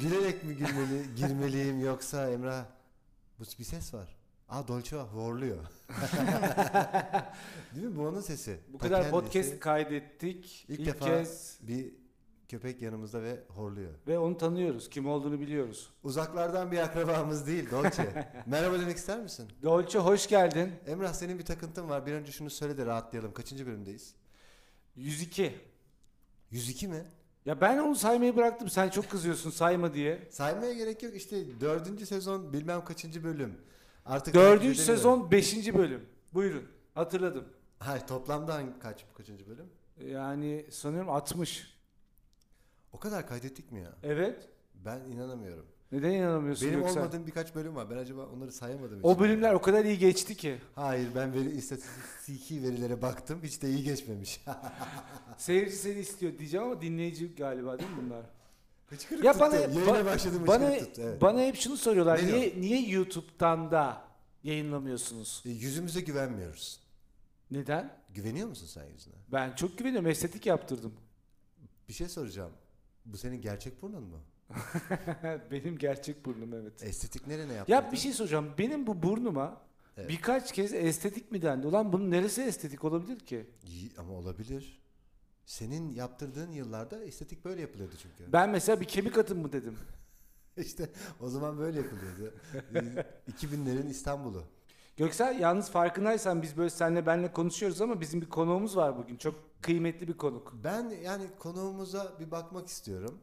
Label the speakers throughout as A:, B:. A: Gülerek mi girmeli, girmeliyim yoksa Emrah? Bu bir ses var. Aa Dolce horluyor. Değil mi? Bu onun sesi.
B: Bu kadar
A: Ta
B: podcast
A: kendisi.
B: kaydettik.
A: İlk
B: İlk,
A: defa-
B: kez
A: Bir köpek yanımızda ve horluyor.
B: ve onu tanıyoruz. Kim olduğunu biliyoruz.
A: Uzaklardan bir akrabamız değil Dolce. Merhaba demek ister misin?
B: Dolce hoş geldin.
A: Emrah senin bir takıntın var. Bir önce şunu söyle de rahatlayalım. Kaçıncı bölümdeyiz?
B: 102.
A: 102 mi?
B: Ya ben onu saymayı bıraktım. Sen çok kızıyorsun sayma diye.
A: Saymaya gerek yok. İşte dördüncü sezon bilmem kaçıncı bölüm. Artık
B: Dördüncü
A: bilmiyorum.
B: sezon 5. bölüm. Buyurun. Hatırladım.
A: Hayır toplamda hangi- kaç kaçıncı bölüm?
B: Yani sanıyorum 60.
A: O kadar kaydettik mi ya?
B: Evet.
A: Ben inanamıyorum.
B: Neden inanamıyorsun
A: Benim
B: yoksa?
A: olmadığım birkaç bölüm var. Ben acaba onları sayamadım.
B: O
A: hiç.
B: bölümler o kadar iyi geçti ki.
A: Hayır ben veri istatistiki verilere baktım. Hiç de iyi geçmemiş.
B: Seyirci seni istiyor diyeceğim ama dinleyici galiba değil mi bunlar?
A: Hıçkırık
B: ya
A: tuttu.
B: bana
A: Yayına
B: ba-
A: başladım
B: bana
A: hıçkırık tuttu. Evet.
B: bana hep şunu soruyorlar.
A: Ne
B: niye niye YouTube'dan da yayınlamıyorsunuz?
A: E, Yüzümüze güvenmiyoruz.
B: Neden?
A: Güveniyor musun sen yüzüne?
B: Ben çok güveniyorum. Estetik yaptırdım.
A: Bir şey soracağım. Bu senin gerçek burnun mu?
B: Benim gerçek burnum evet.
A: Estetik nerene yaptın?
B: Ya bir şey soracağım. Benim bu burnuma
A: Evet.
B: birkaç kez estetik mi dendi? Ulan bunun neresi estetik olabilir ki?
A: İyi ama olabilir. Senin yaptırdığın yıllarda estetik böyle yapılıyordu çünkü.
B: Ben mesela bir kemik atın mı dedim.
A: işte o zaman böyle yapılıyordu. Ee, 2000'lerin İstanbul'u.
B: Göksel yalnız farkındaysan biz böyle senle benle konuşuyoruz ama bizim bir konuğumuz var bugün. Çok kıymetli bir konuk.
A: Ben yani konuğumuza bir bakmak istiyorum.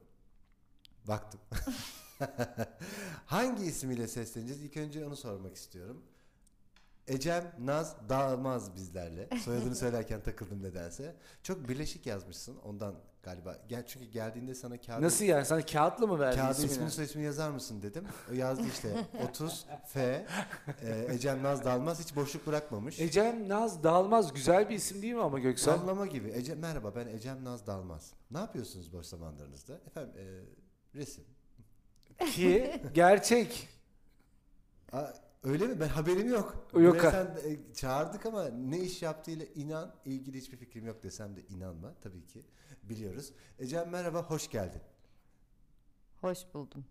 A: Baktım. Hangi ismiyle sesleneceğiz? İlk önce onu sormak istiyorum. Ecem Naz Dağılmaz bizlerle. Soyadını söylerken takıldım nedense. Çok birleşik yazmışsın ondan galiba. Gel çünkü geldiğinde sana kağıdı
B: Nasıl yani? Sana kağıtla mı verdin
A: Kağıda
B: ismini?
A: ismini soy ismini yazar mısın dedim. O yazdı işte 30 F e, Ecem Naz Dalmaz hiç boşluk bırakmamış.
B: Ecem Naz Dağılmaz güzel bir isim değil mi ama Göksel?
A: Sallama gibi. Ece, merhaba ben Ecem Naz Dalmaz. Ne yapıyorsunuz boş zamanlarınızda? Efendim e, resim.
B: Ki gerçek.
A: Aa, öyle mi? Ben haberim yok.
B: Yok
A: Buraya
B: ha.
A: sen, e, çağırdık ama ne iş yaptığıyla inan ilgili hiçbir fikrim yok desem de inanma tabii ki. Biliyoruz. Ecem merhaba hoş geldin.
C: Hoş buldum.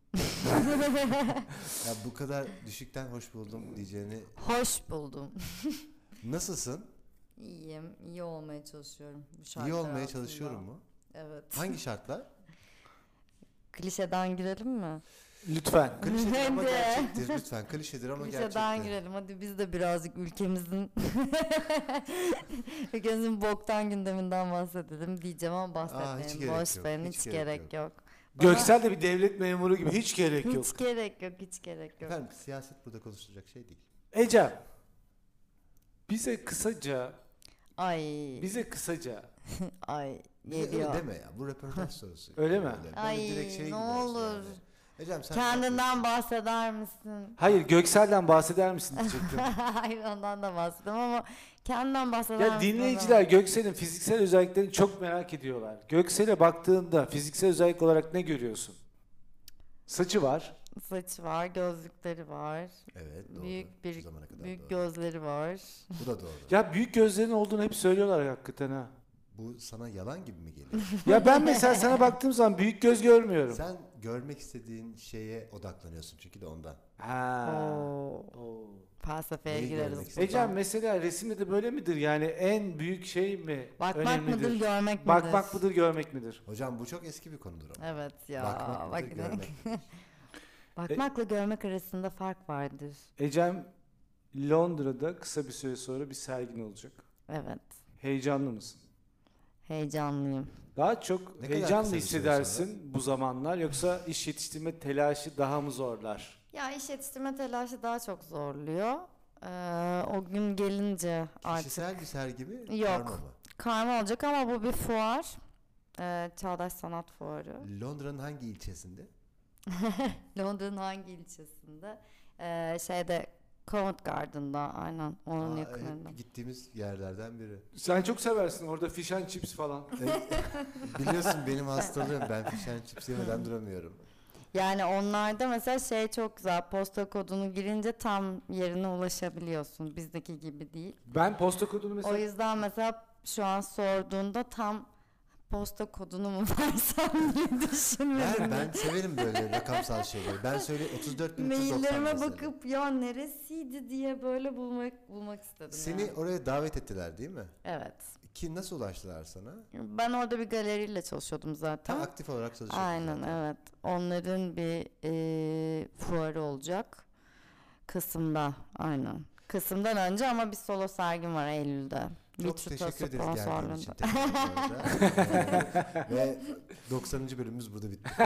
A: Ya bu kadar düşükten hoş buldum diyeceğini.
C: Hoş buldum.
A: Nasılsın?
C: İyiyim. iyi olmaya çalışıyorum. Bu şartlar
A: İyi olmaya
C: altında.
A: çalışıyorum mu?
C: Evet.
A: Hangi şartlar?
C: Klişeden girelim mi?
B: Lütfen.
A: Klişedir ama
C: Hadi.
A: gerçektir lütfen. Klişedir ama
C: Klişeden
A: gerçektir.
C: girelim. Hadi biz de birazcık ülkemizin ülkemizin boktan gündeminden bahsedelim diyeceğim ama
A: hiç
C: bahsetmeyin.
A: gerek
C: Boş
A: yok,
C: verin.
A: hiç
C: Hiç,
A: gerek
C: gerek
A: yok.
C: yok.
B: Göksel de bir devlet memuru gibi hiç gerek
C: hiç
B: yok.
C: gerek yok. Hiç gerek yok.
A: Efendim siyaset burada konuşulacak şey değil.
B: Ecem. Bize kısaca,
C: Ay.
B: bize kısaca.
C: Ay.
A: Bize öyle
C: Geliyor.
A: deme ya. Bu röportaj sorusu.
B: Öyle mi?
A: Böyle
C: Ay, ne
A: gidersin
C: olur.
A: yani. Ecem sen
C: Kendinden bahseder misin?
B: Hayır Göksel'den bahseder misin diyecektim.
C: Hayır ondan da bahsettim ama kendimden bahseder
B: ya
C: misin o
B: dinleyiciler Göksel'in fiziksel özelliklerini çok merak ediyorlar. Göksel'e baktığında fiziksel özellik olarak ne görüyorsun? Saçı var.
C: zaman? Saçı var, gözlükleri var.
A: Evet doğru.
C: Büyük
A: Şu
C: bir
A: zamana kadar
C: büyük
A: doğru.
C: gözleri var.
A: Bu da doğru.
B: Ya büyük gözlerin olduğunu hep söylüyorlar hakikaten ha.
A: Bu sana yalan gibi mi geliyor?
B: Ya ben mesela sana baktığım zaman büyük göz görmüyorum.
A: sen görmek istediğin şeye odaklanıyorsun çünkü de ondan.
B: Ha.
C: Oo,
B: Oo.
C: felsefeye
A: Neyi
C: gireriz.
A: görmek
C: buradan.
B: Ecem mesela resimde de böyle midir? Yani en büyük şey mi?
C: Bakmak
B: önemlidir?
C: mıdır, görmek midir?
B: Bakmak mıdır, görmek midir?
A: Hocam bu çok eski bir konudur ama.
C: Evet ya.
A: Bakmak
C: bak-
A: mıdır, görmek midir?
C: Bakmakla görmek arasında fark vardır.
B: Ecem Londra'da kısa bir süre sonra bir sergin olacak.
C: Evet.
B: Heyecanlı mısın?
C: Heyecanlıyım.
B: Daha çok
A: Ne kadar
B: heyecanlı
A: kısa bir süre
B: hissedersin bu zamanlar yoksa iş yetiştirme telaşı daha mı zorlar?
C: Ya iş yetiştirme telaşı daha çok zorluyor. Ee, o gün gelince artık
A: Kişisel bir sergi mi?
C: Yok.
A: karma mı?
C: karma olacak ama bu bir fuar. Ee, Çağdaş Sanat Fuarı.
A: Londra'nın hangi ilçesinde?
C: Londra'nın hangi ilçesinde? Ee, şeyde Covent Garden'da aynen onun
A: Aa,
C: yakınında.
A: evet, gittiğimiz yerlerden biri.
B: Sen çok seversin orada fish and chips falan.
A: Biliyorsun benim hastalığım. Ben fish and chips yemeden duramıyorum.
C: Yani onlarda mesela şey çok güzel posta kodunu girince tam yerine ulaşabiliyorsun bizdeki gibi değil.
B: Ben posta kodunu
C: O
B: mesela
C: yüzden mesela şu an sorduğunda tam posta kodunu mu versem diye düşünmedim.
A: Ben, ben severim böyle rakamsal şeyleri. Ben söyle 34 bin
C: Maillerime bakıp ya neresiydi diye böyle bulmak bulmak istedim.
A: Seni
C: yani.
A: oraya davet ettiler değil mi?
C: Evet.
A: Ki nasıl ulaştılar sana?
C: Ben orada bir galeriyle çalışıyordum zaten.
A: Tam aktif olarak çalışıyorsun.
C: Aynen
A: zaten.
C: evet. Onların bir e, fuarı olacak. Kasım'da aynen. Kasım'dan önce ama bir solo sergim var Eylül'de.
A: Çok
C: Vitruta
A: teşekkür ederiz geldiğin için.
C: sponsorluğunda.
A: tekrar bu arada. Ee, Ve 90. bölümümüz burada bitti. Bu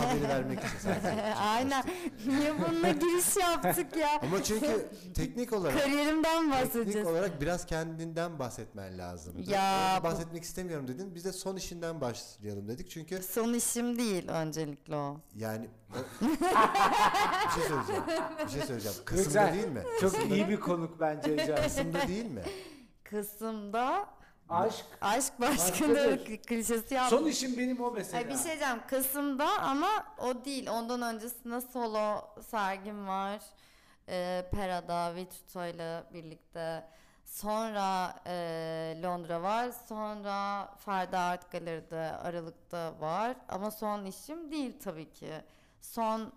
A: haberi vermek için sadece.
C: aynen. Niye bununla giriş yaptık ya?
A: Ama çünkü teknik olarak
C: Kariyerimden
A: teknik
C: bahsedeceğiz.
A: olarak biraz kendinden bahsetmen lazım.
C: Ya bu-
A: bahsetmek istemiyorum dedin. Biz de son işinden başlayalım dedik. Çünkü
C: Son işim değil öncelikle o.
A: yani bir şey söyleyeceğim. Bir şey söyleyeceğim. Kısımda
B: Güzel.
A: değil mi?
B: Çok iyi bir konuk bence Ecem.
A: Kısımda değil mi?
C: Kasım'da
B: Aşk.
C: aşk başkaları
B: Başkadır.
C: kli- klişesi yap.
B: Son işim benim o mesela.
C: Ay bir şey diyeceğim Kasım'da ama o değil. Ondan öncesinde solo sergim var. Ee, Pera'da Vituto ile birlikte. Sonra e, Londra var. Sonra Ferda Art Galeri'de Aralık'ta var. Ama son işim değil tabii ki. Son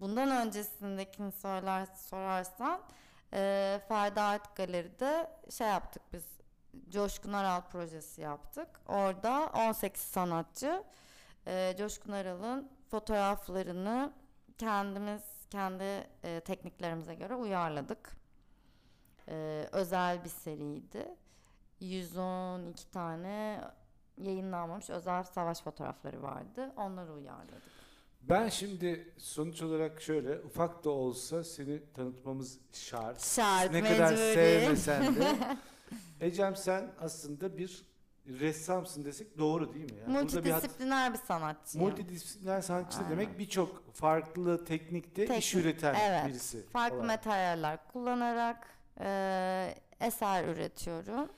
C: bundan öncesindekini söyler, sorarsan e, Ferda Art Galeri'de şey yaptık biz. Coşkun Aral projesi yaptık. Orada 18 sanatçı e, Coşkun Aral'ın fotoğraflarını kendimiz kendi e, tekniklerimize göre uyarladık. E, özel bir seriydi. 112 tane yayınlanmamış özel savaş fotoğrafları vardı. Onları uyarladık.
B: Ben şimdi sonuç olarak şöyle ufak da olsa seni tanıtmamız şart.
C: Şart,
B: ne kadar
C: mecburi.
B: sevmesen de. Ecem sen aslında bir ressamsın desek doğru değil mi? Yani burada bir hat-
C: Multidisipliner bir sanatçıyım.
B: multidisipliner sanatçı
C: Aynen.
B: demek birçok farklı teknikte iş
C: Teknik,
B: üreten
C: evet.
B: birisi.
C: Farklı
B: olarak.
C: materyaller kullanarak e, eser üretiyorum.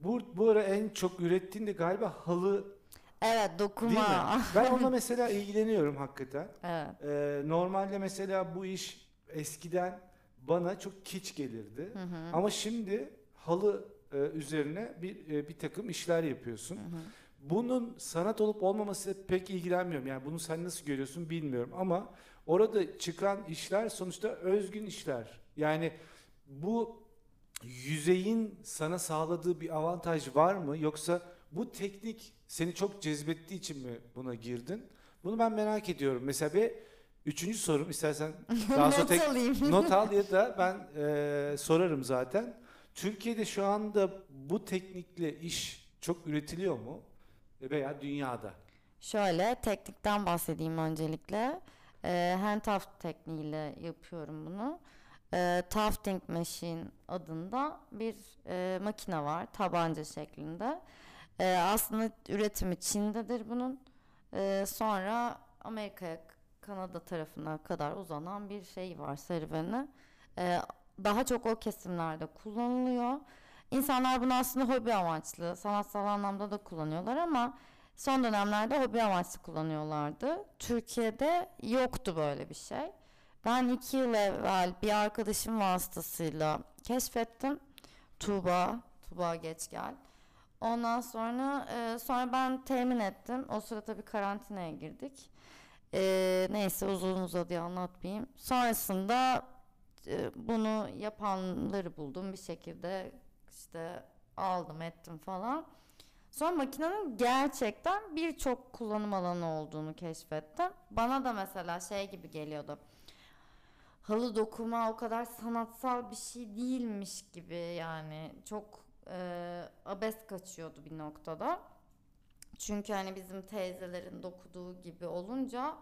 B: Bu, bu ara en çok ürettiğin de galiba halı
C: Evet, dokuma.
B: değil mi? Ben onunla mesela ilgileniyorum hakikaten.
C: evet.
B: Ee, normalde mesela bu iş eskiden bana çok kiç gelirdi.
C: Hı hı.
B: Ama şimdi halı e, üzerine bir e, bir takım işler yapıyorsun.
C: Hı hı.
B: Bunun sanat olup olmaması pek ilgilenmiyorum. Yani bunu sen nasıl görüyorsun bilmiyorum ama orada çıkan işler sonuçta özgün işler. Yani bu yüzeyin sana sağladığı bir avantaj var mı yoksa bu teknik seni çok cezbettiği için mi buna girdin? Bunu ben merak ediyorum. Mesela bir üçüncü sorum istersen daha sonra
C: Not
B: tek,
C: alayım.
B: Not al ya da ben e, sorarım zaten. Türkiye'de şu anda bu teknikle iş çok üretiliyor mu? Veya dünyada?
C: Şöyle teknikten bahsedeyim öncelikle. Ee, hand tuft tekniğiyle yapıyorum bunu. Ee, tufting machine adında bir e, makine var tabanca şeklinde. Ee, aslında üretimi Çin'dedir bunun. Ee, sonra Amerika'ya, Kanada tarafına kadar uzanan bir şey var serüveni. Ee, daha çok o kesimlerde kullanılıyor. İnsanlar bunu aslında hobi amaçlı, sanatsal anlamda da kullanıyorlar ama Son dönemlerde hobi amaçlı kullanıyorlardı. Türkiye'de yoktu böyle bir şey. Ben iki yıl evvel bir arkadaşım vasıtasıyla keşfettim. Tuğba, Tuğba geç gel. Ondan sonra e, sonra ben temin ettim. O sırada tabii karantinaya girdik. E, neyse uzun uzadıya anlatmayayım. Sonrasında e, bunu yapanları buldum bir şekilde işte aldım ettim falan. Sonra makinenin gerçekten birçok kullanım alanı olduğunu keşfettim. Bana da mesela şey gibi geliyordu. Halı dokuma o kadar sanatsal bir şey değilmiş gibi yani çok e, abes kaçıyordu bir noktada. Çünkü hani bizim teyzelerin dokuduğu gibi olunca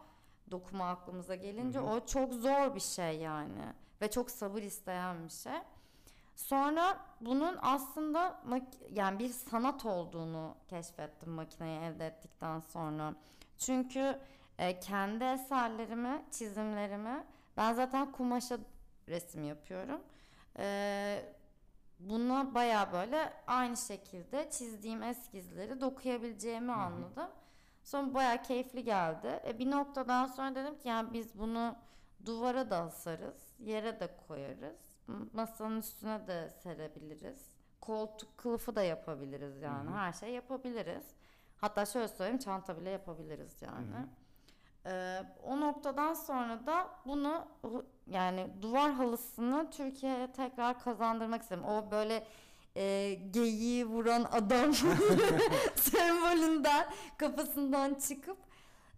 C: dokuma aklımıza gelince
B: Hı hı.
C: o çok zor bir şey yani ve çok sabır isteyen bir şey. Sonra bunun aslında mak- yani bir sanat olduğunu keşfettim makineyi elde ettikten sonra. Çünkü e, kendi eserlerimi, çizimlerimi ben zaten kumaşa resim yapıyorum. E, buna baya böyle aynı şekilde çizdiğim eskizleri dokuyabileceğimi
B: hı.
C: anladım. Sonra baya keyifli geldi. E, bir noktadan sonra dedim ki yani biz bunu duvara da asarız, yere de koyarız, m- masanın üstüne de serebiliriz. Koltuk kılıfı da yapabiliriz yani
B: Hı hı.
C: her şey yapabiliriz.
B: Hı hı.
C: Ee, o noktadan sonra da bunu hu- yani duvar halısını Türkiye'ye tekrar kazandırmak istedim. O böyle e, geyiği vuran adam sembolünden kafasından çıkıp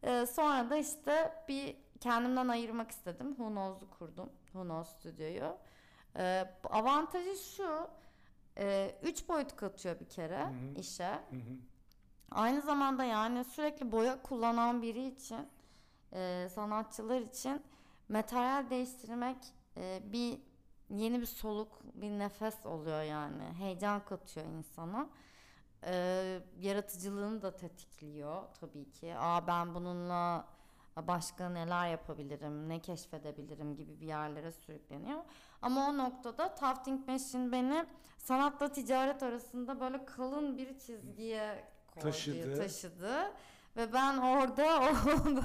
C: e, sonra da işte bir kendimden ayırmak istedim. Hunos'u kurdum. Hunos stüdyoyu. Ee, avantajı şu. E, üç boyut katıyor bir kere
B: Hı hı.
C: işe.
B: Hı hı.
C: Aynı zamanda yani sürekli boya kullanan biri için, e, sanatçılar için materyal değiştirmek e, bir yeni bir soluk, bir nefes oluyor yani. Heyecan katıyor insana. E, yaratıcılığını da tetikliyor tabii ki. Aa ben bununla başka neler yapabilirim, ne keşfedebilirim gibi bir yerlere sürükleniyor. Ama o noktada Tafting Machine beni sanatla ticaret arasında böyle kalın bir çizgiye koydu,
B: Taşıdı.
C: taşıdı. Ve ben orada o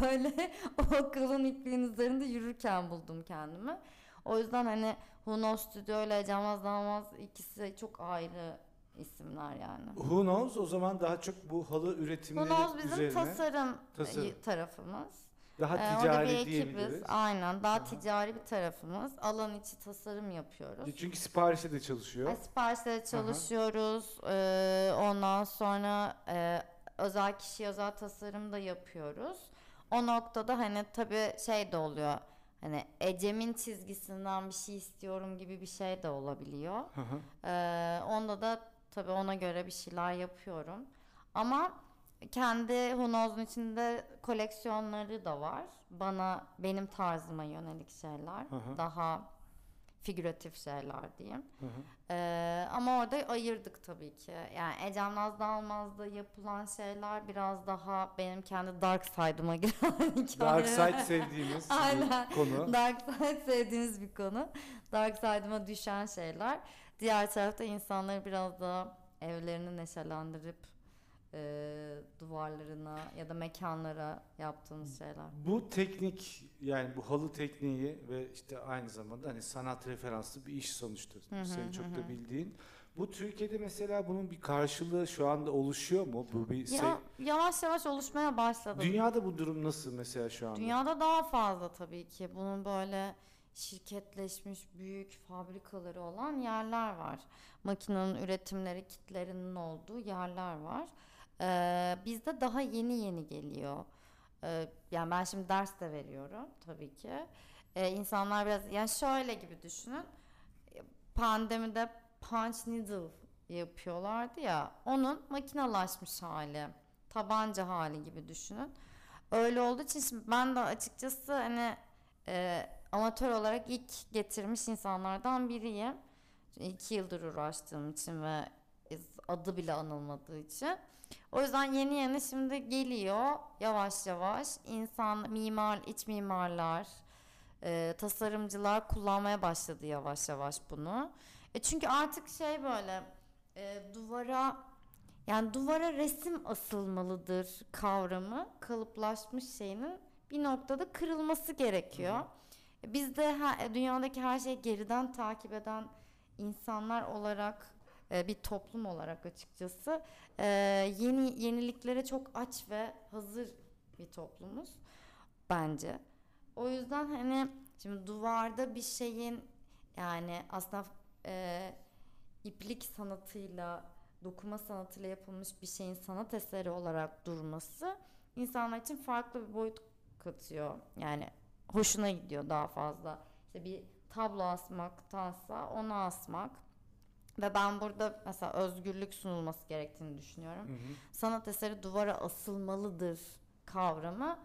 C: böyle o kalın ipliğin üzerinde yürürken buldum kendimi. O yüzden hani Huno Studio ile Camaz Damaz ikisi çok ayrı isimler yani.
B: Who knows? O zaman daha çok bu halı üretimleri
C: Hunoz bizim
B: üzerine
C: tasarım,
B: Tasarım.
C: e, tarafımız.
B: daha
C: Ee, orada bir
B: ticari
C: ekibiz.
B: diyebiliriz.
C: Aynen daha
B: Aha.
C: ticari bir tarafımız. Alan içi tasarım yapıyoruz.
B: Çünkü siparişte de çalışıyor.
C: Ay, siparişlere çalışıyoruz. Ee, ondan sonra e, özel kişi özel tasarım da yapıyoruz. O noktada hani tabii şey de oluyor. Hani Ecem'in çizgisinden bir şey istiyorum gibi bir şey de olabiliyor.
B: Hı hı.
C: Ee, onda da tabii ona göre bir şeyler yapıyorum. Ama kendi Hunoz'un içinde koleksiyonları da var. Bana benim tarzıma yönelik şeyler,
B: Hı hı.
C: daha figüratif şeyler diyeyim.
B: Hı hı.
C: Ee, ama orada ayırdık tabii ki. Yani Ecem Nazlı Almaz'da yapılan şeyler biraz daha benim kendi dark side'ıma giren
B: Dark
C: hikayeler.
B: Side sevdiğimiz bir
C: Aynen.
B: konu.
C: Dark Side sevdiğiniz bir konu. Dark Side'ıma düşen şeyler. Diğer tarafta insanları biraz daha evlerini neşelendirip e, duvarlarına ya da mekanlara yaptığımız şeyler.
B: Bu teknik yani bu halı tekniği ve işte aynı zamanda hani sanat referanslı bir iş sonuçta
C: Hı hı,
B: senin çok
C: hı
B: da
C: hı.
B: bildiğin. Bu Türkiye'de mesela bunun bir karşılığı şu anda oluşuyor mu? Bu bir se-
C: Ya, yavaş yavaş oluşmaya başladı.
B: Dünyada bu durum nasıl mesela şu anda?
C: Dünyada daha fazla tabii ki. Bunun böyle şirketleşmiş büyük fabrikaları olan yerler var. Makinenin üretimleri, kitlerinin olduğu yerler var. Ee, bizde daha yeni yeni geliyor. Ee, yani ben şimdi ders de veriyorum tabii ki. Ee, insanlar biraz yani şöyle gibi düşünün. Pandemide punch needle yapıyorlardı ya. Onun makinalaşmış hali, tabanca hali gibi düşünün öyle olduğu için şimdi ben de açıkçası hani e, amatör olarak ilk getirmiş insanlardan biriyim. İki yıldır uğraştığım için ve adı bile anılmadığı için. O yüzden yeni yeni şimdi geliyor yavaş yavaş insan, mimar, iç mimarlar, e, tasarımcılar kullanmaya başladı yavaş yavaş bunu. E çünkü artık şey böyle e, duvara yani duvara resim asılmalıdır kavramı kalıplaşmış şeyinin bir noktada kırılması gerekiyor. E, Biz de her- dünyadaki her şeyi geriden takip eden insanlar olarak e, bir toplum olarak açıkçası e, yeni yeniliklere çok aç ve hazır bir toplumuz bence. O yüzden hani şimdi duvarda bir şeyin yani aslında e, iplik sanatıyla dokuma sanatıyla yapılmış bir şeyin sanat eseri olarak durması insanlar için farklı bir boyut katıyor. Yani hoşuna gidiyor daha fazla. İşte bir tablo asmaktansa onu asmak. Ve ben burada mesela özgürlük sunulması gerektiğini düşünüyorum.
B: Hı hı.
C: Sanat eseri duvara asılmalıdır kavramı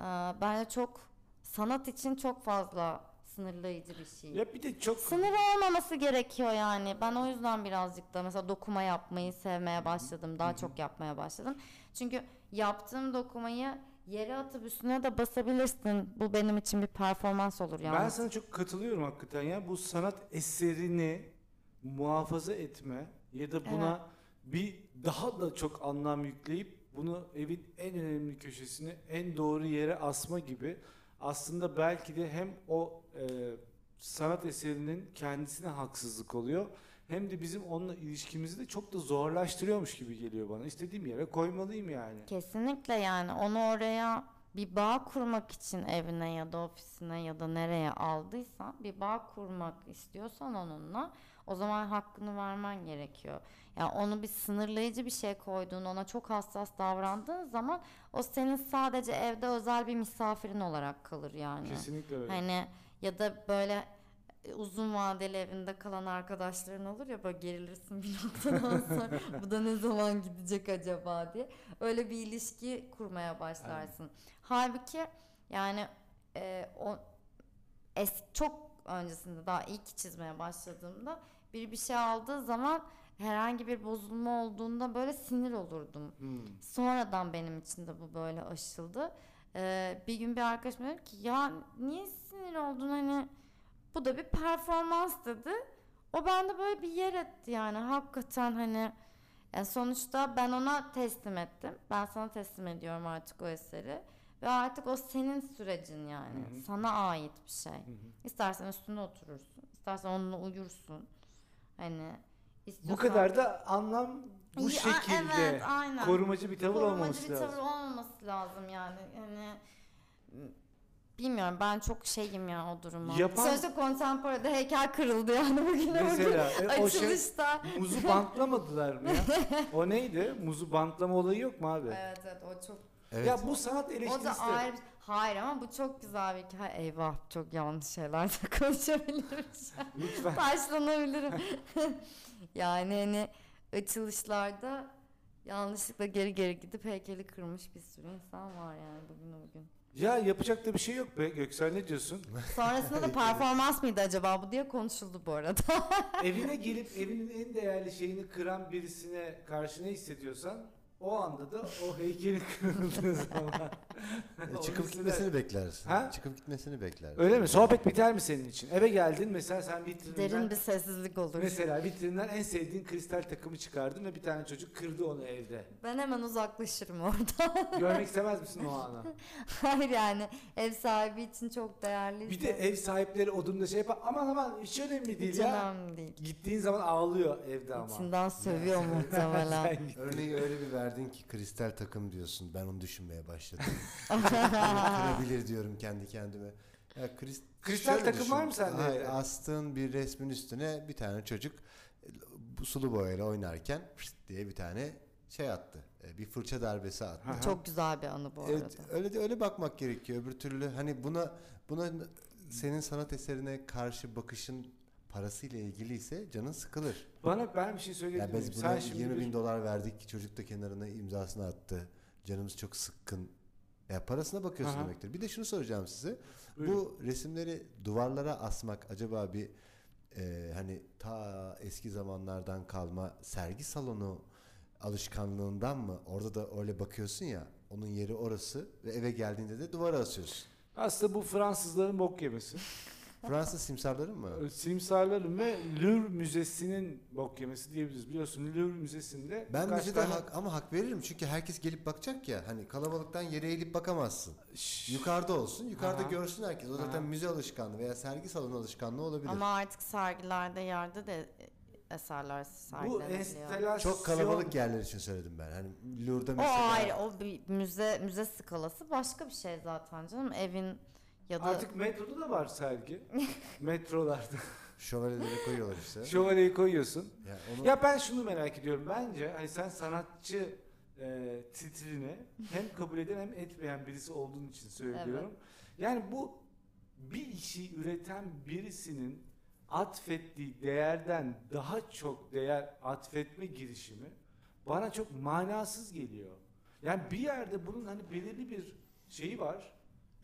C: e, bence çok sanat için çok fazla sınırlayıcı bir şey.
B: Ya bir de çok
C: Sınır olmaması gerekiyor yani. Ben o yüzden birazcık da mesela dokuma yapmayı sevmeye başladım. Daha çok yapmaya başladım. Çünkü yaptığım dokumayı yere atıp üstüne de basabilirsin. Bu benim için bir performans olur yani.
B: Ben sana çok katılıyorum hakikaten ya. Bu sanat eserini muhafaza etme ya da buna bir daha da çok anlam yükleyip bunu evin en önemli köşesini en doğru yere asma gibi aslında belki de hem o e, sanat eserinin kendisine haksızlık oluyor hem de bizim onunla ilişkimizi de çok da zorlaştırıyormuş gibi geliyor bana. İstediğim yere koymalıyım yani.
C: Kesinlikle yani onu oraya bir bağ kurmak için evine ya da ofisine ya da nereye aldıysan bir bağ kurmak istiyorsan onunla o zaman hakkını vermen gerekiyor. Ya onu bir sınırlayıcı bir şey koyduğun ona çok hassas davrandığın zaman o senin sadece evde özel bir misafirin olarak kalır yani.
B: Kesinlikle öyle.
C: Hani ya da böyle e, uzun vadeli evinde kalan arkadaşların olur ya böyle gerilirsin bir noktadan sonra bu da ne zaman gidecek acaba diye. Öyle bir ilişki kurmaya başlarsın. Halbuki yani e, o es, çok öncesinde daha ilk çizmeye başladığımda biri bir şey aldığı zaman herhangi bir bozulma olduğunda böyle sinir olurdum.
B: Hmm.
C: Sonradan benim için de bu böyle aşıldı. Ee, bir gün bir arkadaşım dedi ki ya niye sinir oldun hani bu da bir performans dedi. O bende böyle bir yer etti yani hakikaten hani yani sonuçta ben ona teslim ettim. Ben sana teslim ediyorum artık o eseri. Ve artık o senin sürecin yani.
B: Hı hı.
C: Sana ait bir şey.
B: Hı hı.
C: İstersen üstüne oturursun. istersen onunla uyursun. Hani
B: Bu
C: istiyorsan-
B: kadar da anlam bu
C: Ya,
B: şekilde
C: evet, aynen.
B: korumacı bir tavır
C: Korumacı
B: olmaması
C: bir
B: lazım.
C: tavır olmaması lazım yani. Hani bilmiyorum ben çok şeyim ya o duruma.
B: Yapan-
C: Sonuçta kontemporada heykel kırıldı yani bugün öbür
B: Mesela e, o şey
C: açılışta.
B: muzu bantlamadılar mı ya? O neydi? Muzu bantlama olayı yok mu abi?
C: Evet evet o çok
A: Evet.
B: Ya bu sanat
C: o
B: eleştirisi.
C: da ayrı hayır ama bu çok güzel bir hikaye. Eyvah çok yanlış şeyler de konuşabilirim.
B: Lütfen.
C: Taşlanabilirim. yani hani açılışlarda yanlışlıkla geri geri gidip heykeli kırmış bir sürü insan var yani bugün o gün.
B: Ya yapacak da bir şey yok be Göksel ne diyorsun?
C: Sonrasında da performans mıydı acaba bu diye konuşuldu bu arada.
B: Evine gelip evinin en değerli şeyini kıran birisine karşı ne hissediyorsan o anda da o heykelin kırıldığı zaman.
A: E,
B: o
A: çıkıp
B: hisler.
A: gitmesini beklersin.
B: Ha?
A: Çıkıp gitmesini beklersin.
B: Öyle mi? Sohbet biter mi senin için? Eve geldin mesela sen vitrinden
C: Derin bir sessizlik olur.
B: mesela vitrinden en sevdiğin kristal takımı çıkardın ve bir tane çocuk kırdı onu evde.
C: Ben hemen uzaklaşırım orada.
B: Görmek istemez misin o anı?
C: Hayır yani ev sahibi için çok değerli.
B: Bir de ev sahipleri odunla şey yapar. Aman aman hiç önemli değil
C: hiç
B: ya.
C: önemli değil.
B: Gittiğin zaman ağlıyor evde ama.
C: İçinden sövüyor muhtemelen.
B: Sen git.
A: Örneği öyle bir verdin ki kristal takım diyorsun. Ben onu düşünmeye başladım. Kırabilir diyorum kendi kendime. Ya krist-
B: Kristal
A: şöyle
B: takım
A: düşün.
B: var mı sende?
A: Hayır, astığın bir resmin üstüne bir tane çocuk e, bu sulu boyayla oynarken pşt diye bir tane şey attı. E, Bir fırça darbesi attı.
B: Aha.
C: çok güzel bir anı bu arada.
A: Evet, öyle de öyle bakmak gerekiyor. Öbür türlü hani buna buna senin sanat eserine karşı bakışın parasıyla ilgiliyse canın sıkılır.
B: Bana ben bir şey söyleyebilir
A: Yani
B: miyim?
A: biz
B: Sen
A: buna
B: şimdi
A: 20
B: bir-
A: bin dolar verdik. Çocuk da kenarına imzasını attı. Canımız çok sıkkın. Ya parasına bakıyorsun
B: Aha.
A: demektir. Bir de şunu soracağım size.
B: Buyurun.
A: Bu resimleri duvarlara asmak acaba bir e, hani ta eski zamanlardan kalma sergi salonu alışkanlığından mı? Orada da öyle bakıyorsun ya. Onun yeri orası ve eve geldiğinde de duvara asıyorsun.
B: aslında bu Fransızların bok yemesi.
A: Fransız simsarları mı?
B: Simsarların ve Louvre Müzesi'nin bok yemesi diyebiliriz. Biliyorsun Louvre Müzesi'nde
A: Ben
B: birkaç
A: müzede
B: tane-
A: hak, ama hak veririm çünkü herkes gelip bakacak ya. Hani kalabalıktan yere eğilip bakamazsın.
B: Şşş.
A: Yukarıda olsun. Yukarıda
B: Aha.
A: görsün herkes. O
B: Aha.
A: zaten müze alışkanlığı veya sergi salonu alışkanlığı olabilir.
C: Ama artık sergilerde yerde de eserler
B: bu
C: sergilenebiliyor.
B: enstelasyon
A: Çok kalabalık yerler için söyledim ben. Hani Lourdes'da
C: O
A: mesela.
C: ayrı, o bir müze müze skalası başka bir şey zaten canım. Evin ya da
B: Artık metroda da var sergi. Metrolarda.
A: Şövalyeleri koyuyorlar işte.
B: Şövalyeyi koyuyorsun.
A: Yani onu
B: Ya ben şunu merak ediyorum. Bence hani sen sanatçı e, titrini hem kabul eden hem etmeyen birisi olduğun için söylüyorum. Yani bu bir işi üreten birisinin atfettiği değerden daha çok değer atfetme girişimi bana çok manasız geliyor. Yani bir yerde bunun hani belirli bir şeyi var,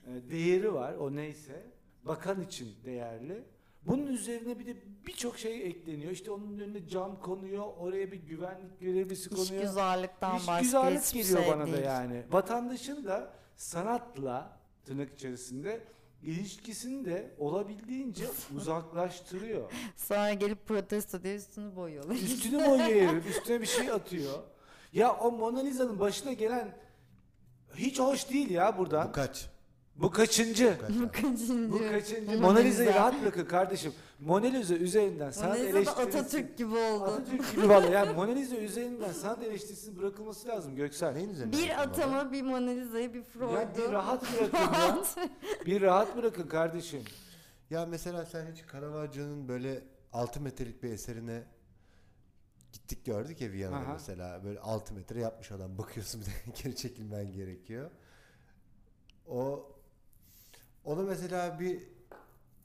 B: e, değeri var o neyse. Bakan için değerli. Bunun üzerine bir de birçok şey ekleniyor. İşte onun önüne cam konuyor, oraya bir güvenlik görevlisi konuyor.
C: işgüzarlıktan başka
B: İşgüzarlık
C: hiçbir
B: geliyor
C: şey
B: bana
C: değil.
B: da yani. Vatandaşın da sanatla tırnak içerisinde ilişkisini de olabildiğince uzaklaştırıyor.
C: Sonra gelip protesto diye üstünü boyuyorlar.
B: Üstünü boyuyor herif, üstüne bir şey atıyor. Ya o Mona Lisa'nın başına gelen hiç hoş değil ya buradan.
A: bu kaç?
B: Bu kaçıncı?
A: Kaçlar.
C: Kaçıncı?
B: Bu kaçıncı?
C: Mona
B: Mona Lisa'yı
C: Lisa.
B: rahat bırakın kardeşim. Mona Lisa üzerinden
C: Mona
B: sanat
C: Lisa da
B: eleştirisi...
C: Atatürk gibi oldu.
B: Atatürk gibi vallahi. Yani Mona Lisa üzerinden sanat eleştirisinin bırakılması lazım Göksel.
A: Neyin üzerine
C: Bir
A: yaptın bunu?
C: atama, bir Mona Lisa'yı, bir Freud'u.
B: Ya bir rahat bırakın ya. Bir rahat bırakın kardeşim.
A: Ya mesela sen hiç Caravaggio'nun böyle 6 metrelik bir eserine gittik gördük ya Viyana'da
B: Aha.
A: mesela böyle 6 metre yapmış adam bakıyorsun bir de geri çekilmen gerekiyor. O onu mesela bir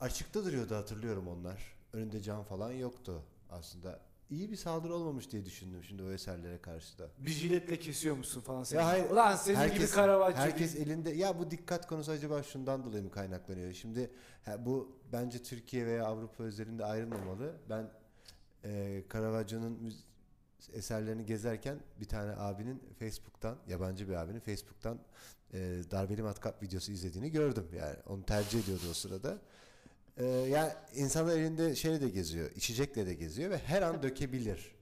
A: açıkta duruyordu hatırlıyorum onlar. Önünde cam falan yoktu aslında. İyi bir saldırı olmamış diye düşündüm şimdi o eserlere karşı da.
B: Bir jiletle kesiyor musun falan seni.
A: Ya hayır,
B: Ulan senin gibi Caravaggio.
A: herkes elinde ya bu dikkat konusu acaba şundan dolayı mı kaynaklanıyor? Şimdi ha, bu bence Türkiye veya Avrupa özelinde ayrılmamalı. Ben e, Caravaggio'nun müz- eserlerini gezerken bir tane abinin Facebook'tan yabancı bir abinin Facebook'tan e, darbeli matkap videosu izlediğini gördüm yani onu tercih ediyordu o sırada. E, yani insanlar elinde şeyle de geziyor, içecekle de geziyor ve her an dökebilir.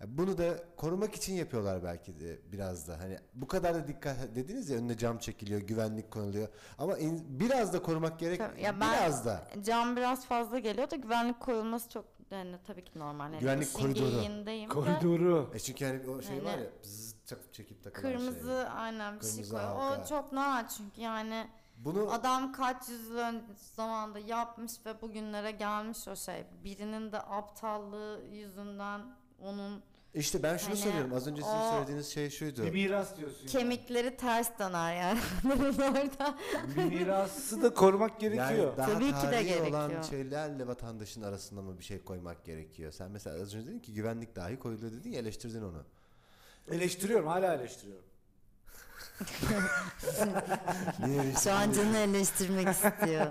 A: Ya Bunu da korumak için yapıyorlar belki de biraz da. Hani bu kadar da dikkat dediniz ya önüne cam çekiliyor, güvenlik konuluyor. Ama in- biraz da korumak gerek.
C: Tabii, ya ben-
A: biraz da.
C: Cam biraz fazla geliyor da güvenlik koyulması çok yani tabii ki normal. Yani
A: Güvenlik
C: işin
A: koridoru.
C: gereğindeyim de
B: Koridoru.
A: E çünkü hani o şey
C: Yani-
A: var ya bzzz çak- çekip takılan
C: Kırmızı
A: şey.
C: aynen bir şey
A: Kırmızı
C: koyuyor.
A: halka.
C: O çok normal çünkü yani
A: Bunu
C: adam kaç yüzyıl ön- zamanda yapmış ve bugünlere gelmiş o şey. Birinin de aptallığı yüzünden onun
A: işte ben şunu
C: Hani
A: söylüyorum. Az önce sizin
C: o-
A: söylediğiniz şey şuydu.
B: Bir miras diyorsun.
C: kemikleri ters döner yani. Orada.
B: Yani. Bir mirası da korumak gerekiyor.
A: Yani daha
C: Tabii ki de
A: tarihi olan
C: gerekiyor.
A: şeylerle vatandaşın arasında mı bir şey koymak gerekiyor? Sen mesela az önce dedin ki güvenlik dahi koyuluyor dedin ya eleştirdin onu.
B: Eleştiriyorum hala eleştiriyorum.
A: Niye eleştirdin?
C: Şu an canı eleştirmek istiyor.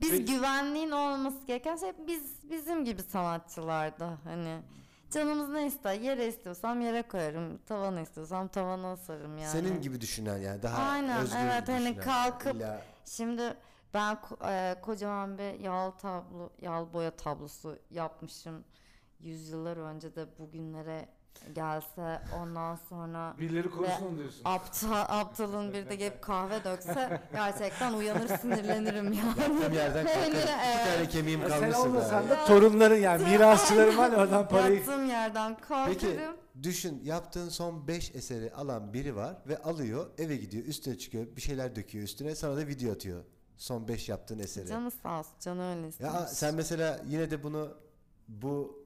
C: biz
B: Peki.
C: güvenliğin olması gereken şey biz bizim gibi sanatçılarda hani canımız ne ister yere istiyorsam yere koyarım tavana istiyorsam tavana asarım yani.
A: Senin gibi düşünen yani daha
C: Aynen,
A: özgür
C: evet, hani
A: düşünen.
C: kalkıp-
A: İlla-
C: Şimdi ben ko- e, kocaman bir yal tablo yal boya tablosu yapmışım yüzyıllar önce de bugünlere gelse ondan sonra
B: Birileri korusun onu diyorsun.
C: aptal aptalın bir de gelip kahve dökse gerçekten uyanır sinirlenirim yani.
A: Tam yerden kalkarım.
C: Hani,
A: İki
C: evet.
A: tane kemiğim
B: Ya
A: kalmışsa da.
B: sen olmasan da
C: Ya.
B: torunların yani mirasçıların var ya oradan parayı.
C: Yattığım yerden
A: Peki
C: kalkarım.
A: düşün yaptığın son 5 eseri alan biri var ve alıyor eve gidiyor üstüne çıkıyor bir şeyler döküyor üstüne sana da video atıyor. Son 5 yaptığın eseri.
C: Canı sağ olsun. Canı öyle
A: Ya
C: istemiş.
A: sen mesela yine de bunu bu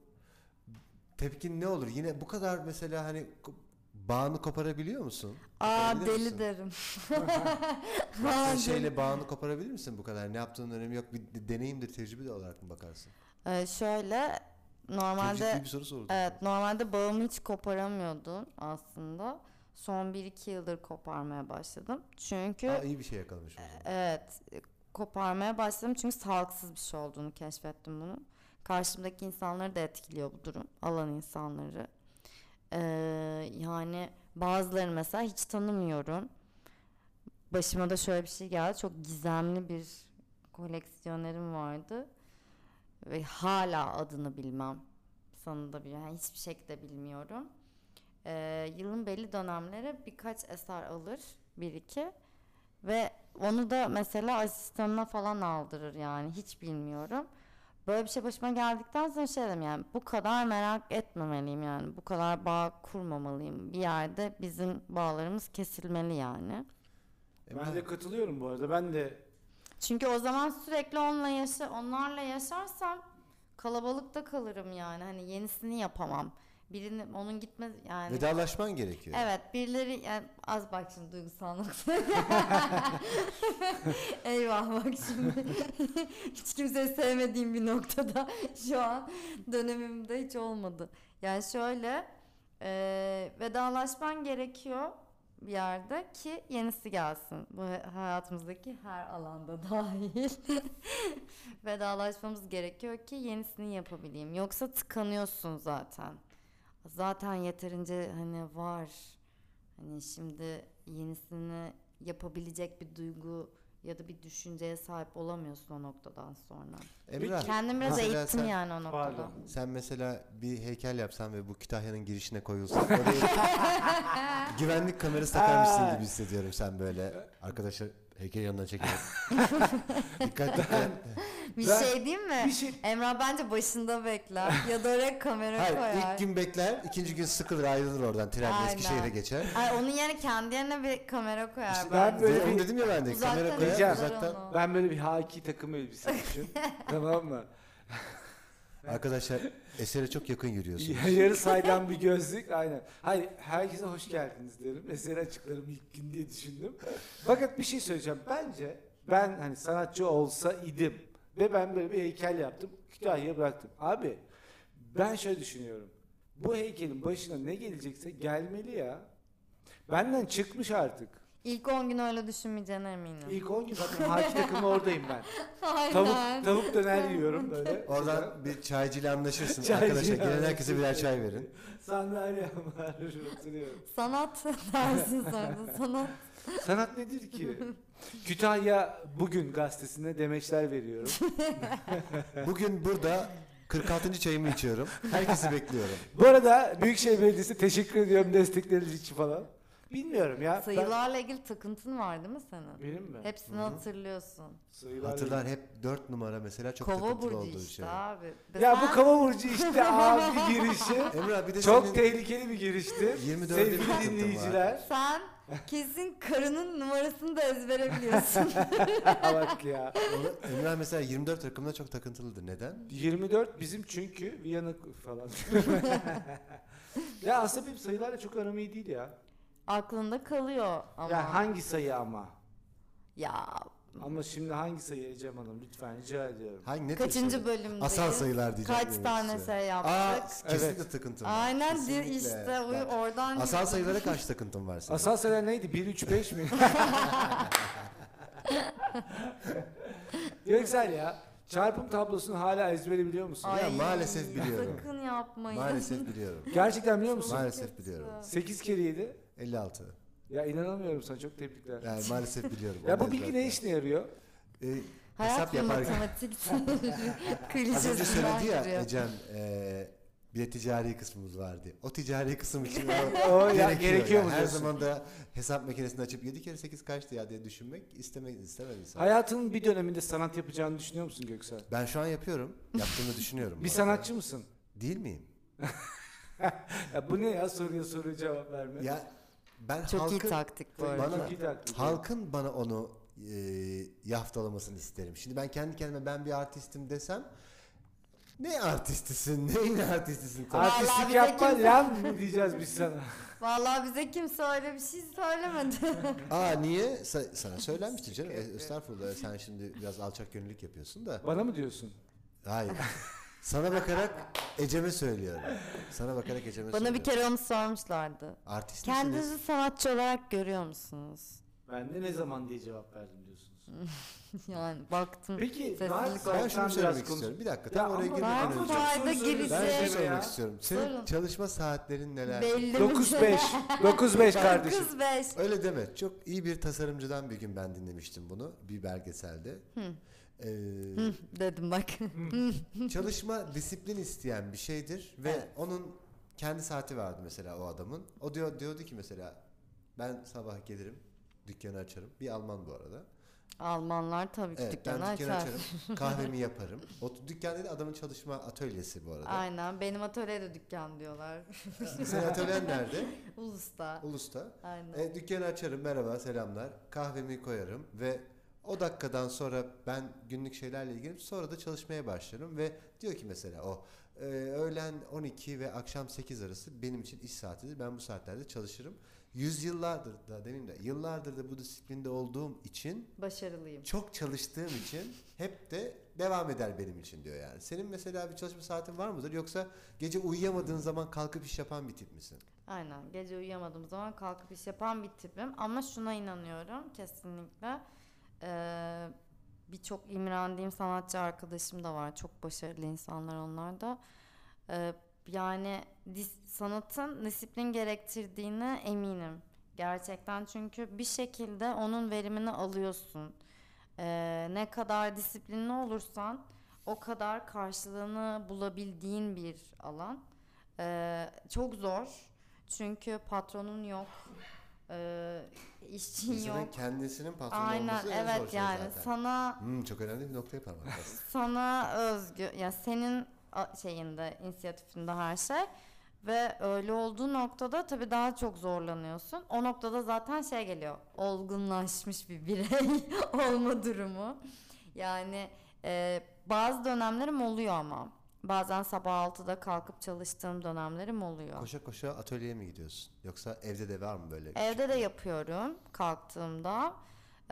A: tepkin ne olur? Yine bu kadar mesela hani ko- bağını koparabiliyor musun?
C: Aa
A: Koparabilir
C: deli
A: misin?
C: derim.
A: Yaptığın
C: Aa, deli.
A: şeyle bağını koparabilir misin bu kadar? Ne yaptığının önemi yok. Bir de- deneyimdir, tecrübe de olarak mı bakarsın?
C: Ee, şöyle
A: Çok
C: normalde e,
A: ciddi bir şey. soru sordum.
C: Evet normalde bağımı hiç koparamıyordum aslında. Son 1-2 yıldır koparmaya başladım. Çünkü
A: Aa, iyi bir şey yakalamış o zaman.
C: evet e, koparmaya başladım çünkü sağlıksız bir şey olduğunu keşfettim bunu. Karşımdaki insanları da etkiliyor bu durum. Alan insanları. Ee, yani bazıları mesela hiç tanımıyorum. Başıma da şöyle bir şey geldi. Çok gizemli bir koleksiyonerim vardı. Ve hala adını bilmem. Sana da bir, yani hiçbir şekilde bilmiyorum. Ee, yılın belli dönemleri birkaç eser alır. Bir iki. Ve onu da mesela asistanına falan aldırır yani. Hiç bilmiyorum. Böyle bir şey başıma geldikten sonra şey dedim yani bu kadar merak etmemeliyim yani bu kadar bağ kurmamalıyım. Bir yerde bizim bağlarımız kesilmeli yani.
B: E, Ben de katılıyorum bu arada. Ben de
C: Çünkü o zaman sürekli onunla yaşa onlarla yaşarsam kalabalıkta kalırım yani. Hani yenisini yapamam. Birinin onun gitme yani.
A: Vedalaşman gerekiyor.
C: Evet birileri yani az bak şimdi duygusal nokta. Eyvah bak şimdi. hiç kimseyi sevmediğim bir noktada şu an dönemimde hiç olmadı. Yani şöyle e, vedalaşman gerekiyor bir yerde ki yenisi gelsin. Bu hayatımızdaki her alanda dahil. Vedalaşmamız gerekiyor ki yenisini yapabileyim. Yoksa tıkanıyorsun zaten zaten yeterince hani var. Hani şimdi yenisini yapabilecek bir duygu ya da bir düşünceye sahip olamıyorsun o noktadan sonra.
A: Emrah,
C: Kendim biraz
A: mesela
C: eğittim
A: sen-
C: yani o noktada.
B: Pardon.
A: Sen mesela bir heykel yapsan ve bu Kütahya'nın girişine koyulsa oraya güvenlik kamerası takarmışsın
B: Aa.
A: gibi hissediyorum sen böyle arkadaşa Ege yanına çekelim. dikkat dikkat.
C: Bir
B: Ben-
C: şey diyeyim mi?
B: Bir şey
C: Emrah bence başında bekler ya da oraya kamera
A: Hayır
C: koyar.
A: ilk gün bekler, ikinci gün sıkılır ayrılır oradan trenle
C: Aynen.
A: Eskişehir'e geçer.
C: Ay onun yerine kendi yerine bir kamera koyar
B: İşte ben
C: bence.
B: böyle
A: Ve
B: bir-
A: onu dedim ya ben de
C: Uzaktan
A: kamera
B: izler
A: koyar
C: onu.
A: uzaktan.
B: ben böyle bir haki takım elbise düşün. tamam mı?
A: Arkadaşlar esere çok yakın yürüyorsunuz.
B: Yarı saydam bir gözlük aynen. Hayır herkese hoş geldiniz derim. Eseri açıklarım ilk gün diye düşündüm. Fakat bir şey söyleyeceğim. Bence ben hani sanatçı olsa idim ve ben böyle bir heykel yaptım. Kütahya bıraktım. Abi ben şöyle düşünüyorum. Bu heykelin başına ne gelecekse gelmeli ya. Benden çıkmış artık.
C: İlk 10 gün öyle düşünmeyeceğine eminim.
B: İlk 10 gün zaten haki takımı oradayım ben.
C: Aynen.
B: Tavuk, tavuk döner yiyorum böyle.
A: Oradan bir çaycıyla anlaşırsın
B: Çaycı
A: arkadaşlar. Gelen
B: anlaşırsın.
A: herkese birer çay verin.
B: Sandalyem var. Oturuyorum.
C: Sanat dersin sonra sanat.
B: Sanat nedir ki? Kütahya Bugün gazetesine demeçler veriyorum.
A: Bugün burada 46. çayımı içiyorum. Herkesi bekliyorum.
B: Bu arada Büyükşehir Belediyesi teşekkür ediyorum destekleriniz için falan. Bilmiyorum ya. ben-
C: Sayılarla ilgili takıntın var değil mi senin?
B: Benim mi?
C: Hepsini
A: Hı hı.
C: hatırlıyorsun.
B: Sayılar-
A: Hatırlar hep 4 numara mesela çok
C: Kova
A: takıntılı
C: burcu
A: olduğu
C: işte
A: şey.
C: abi.
B: Ya bu
C: Ben-
B: kava burcu işte abi girişi.
A: Emrah bir de
B: Çok
A: senin
B: tehlikeli bir girişti.
A: 24'e bir
B: Sevgili
A: takıntın
B: dinleyiciler.
C: Sen kesin karının numarasını da ezbere biliyorsun.
B: Bak ya.
A: Onu- Emrah mesela 24 takımda çok takıntılıdır. Neden?
B: 24 bizim çünkü Viyana falan. ya aslında benim sayılarla çok aram iyi değil ya.
C: Aklında kalıyor ama.
B: Ya hangi sayı ama?
C: Ya,
B: Ama şimdi hangi sayı Ecem Hanım lütfen rica ediyorum.
A: Hangi ne tür
C: kaçıncı
A: sayı?
C: bölümdeyiz?
A: Asal sayılar diyeceğim.
C: Kaç
A: demek
C: tane
A: size.
C: şey
A: Aa,
C: yaptık?
A: kesinlikle takıntım var.
C: Aynen di-
A: Kesinlikle.
C: işte o-
A: Bak,
C: oradan
A: Asal
C: yürüdüm.
A: sayılara kaç takıntın var senin?
B: Asal sayılar neydi? 1, 3, 5 mi? Göksel ya. Çarpım tablosunu hala ezbere biliyor musun?
A: Ay. maalesef biliyorum.
C: Sakın yapmayın.
A: Maalesef biliyorum.
B: Gerçekten biliyor musun?
A: maalesef biliyorum.
B: 8 kere 7.
A: 56.
B: Ya inanamıyorum sana çok tebrikler.
A: Yani maalesef biliyorum.
B: Ya bu
A: Onu
B: bilgi
A: ezberledim.
B: ne işine yarıyor?
A: Ee,
C: Hayat
A: hesap
C: bir
A: yapar.
C: matematik
A: Az önce
C: klişesinden
A: söyledi ya
C: duruyor.
A: Ecem e, bir de ticari kısmımız var diye. O ticari kısım için o
B: O ya, gerekiyor
A: yani.
B: mu
A: Her
B: diyorsun?
A: zaman da hesap makinesini açıp 7 kere 8 kaçtı ya diye düşünmek istemeyiz istemez insan.
B: Hayatının bir döneminde sanat yapacağını düşünüyor musun Göksel?
A: Ben şu an yapıyorum. Yaptığımı düşünüyorum.
B: Bir
A: bu arada.
B: sanatçı mısın?
A: Değil miyim?
B: Ya bu ne ya soruya soruya cevap verme.
A: Ya ben
C: Çok iyi
A: halkın,
C: taktik bu arada.
A: Bana-
B: Çok iyi taklit.
A: halkın bana onu e, yaftalamasını isterim. Şimdi ben kendi kendime ben bir artistim desem ne artistisin, neyin artistisin? tabii.
C: Vallahi
B: Artistlik
C: bize
B: yapma
C: kimse-
B: lan mı diyeceğiz biz sana.
C: Vallahi bize kimse öyle bir şey söylemedi.
A: Aa niye? Sa- sana söylenmişti canım. E, Estağfurullah sen şimdi biraz alçak gönüllülük yapıyorsun da.
B: Bana mı diyorsun?
A: Hayır. Sana bakarak Ecem'e söylüyorum. Sana bakarak Ecem'e
C: Bana bir
A: söylüyorum.
C: kere onu sormuşlardı.
A: Artist misiniz?
C: Kendinizi sanatçı olarak görüyor musunuz?
B: Ben de ne zaman diye cevap verdim diyorsunuz.
C: Yani baktım.
B: Peki
C: Seslilik
B: daha
C: olarak.
A: Ben
B: Sen
A: şunu
B: biraz
A: söylemek
B: konuş-
A: istiyorum. Bir dakika
B: Ya
A: tam oraya
B: ama
A: girmeden
C: ben
A: önce.
C: fayda
B: Çok soru
C: gireceğim.
A: Ben şunu
B: söyleyeyim ya.
A: söylemek istiyorum. Senin
C: Sorun.
A: çalışma saatlerin neler?
C: Belli
B: 9-5. 9-5 kardeşim.
C: 9 5.
A: Öyle deme. Çok iyi bir tasarımcıdan bir gün ben dinlemiştim bunu. Bir belgeselde. Ee,
C: Dedim bak.
A: çalışma disiplin isteyen bir şeydir ve onun kendi saati vardı mesela o adamın. O diyor diyordu ki mesela ben sabah gelirim, dükkanı açarım. Bir Alman bu arada.
C: Almanlar tabii ki
A: Evet,
C: dükkanı
A: ben dükkanı
C: açar.
A: açarım. kahvemi yaparım. O dükkan değil adamın çalışma atölyesi bu arada.
C: Aynen. Benim atölyede dükkan diyorlar.
A: Senin atölyen nerede?
C: Ulus'ta.
A: Ulus'ta.
C: Aynen.
A: E, dükkanı açarım merhaba selamlar kahvemi koyarım ve o dakikadan sonra ben günlük şeylerle ilgilenip sonra da çalışmaya başlarım ve diyor ki mesela o e, öğlen 12 ve akşam 8 arası benim için iş saatidir ben bu saatlerde çalışırım. Yüzyıllardır da demeyeyim de yıllardır da bu disiplinde olduğum için
C: Başarılıyım.
A: çok çalıştığım için hep de devam eder benim için diyor yani. Senin mesela bir çalışma saatin var mıdır yoksa gece uyuyamadığın zaman kalkıp iş yapan bir tip misin?
C: Aynen. Gece uyuyamadığım zaman kalkıp iş yapan bir tipim. Ama şuna inanıyorum kesinlikle. Ee, Birçok imrendiğim sanatçı arkadaşım da var. Çok başarılı insanlar onlar da. Ee, yani dis- sanatın disiplin gerektirdiğine eminim. Gerçekten çünkü bir şekilde onun verimini alıyorsun. Ee, ne kadar disiplinli olursan o kadar karşılığını bulabildiğin bir alan. Ee, çok zor çünkü patronun yok. Ee, işçin yok.
A: İnsanın kendisinin patronu
C: Aynen
A: olması en zor
C: evet
A: şey
C: yani
A: zaten.
C: sana
A: Hmm, çok önemli bir noktaya parmak bastın.
C: sana özgü ya senin a- şeyinde inisiyatifinde her şey ve öyle olduğu noktada tabii daha çok zorlanıyorsun. O noktada zaten şey geliyor. Olgunlaşmış bir birey olma durumu. Yani e, bazı dönemlerim oluyor ama. Bazen sabah 6'da kalkıp çalıştığım dönemlerim oluyor.
A: koşa koşa atölyeye mi gidiyorsun? Yoksa evde de var mı böyle?
C: Evde de yapıyorum kalktığımda.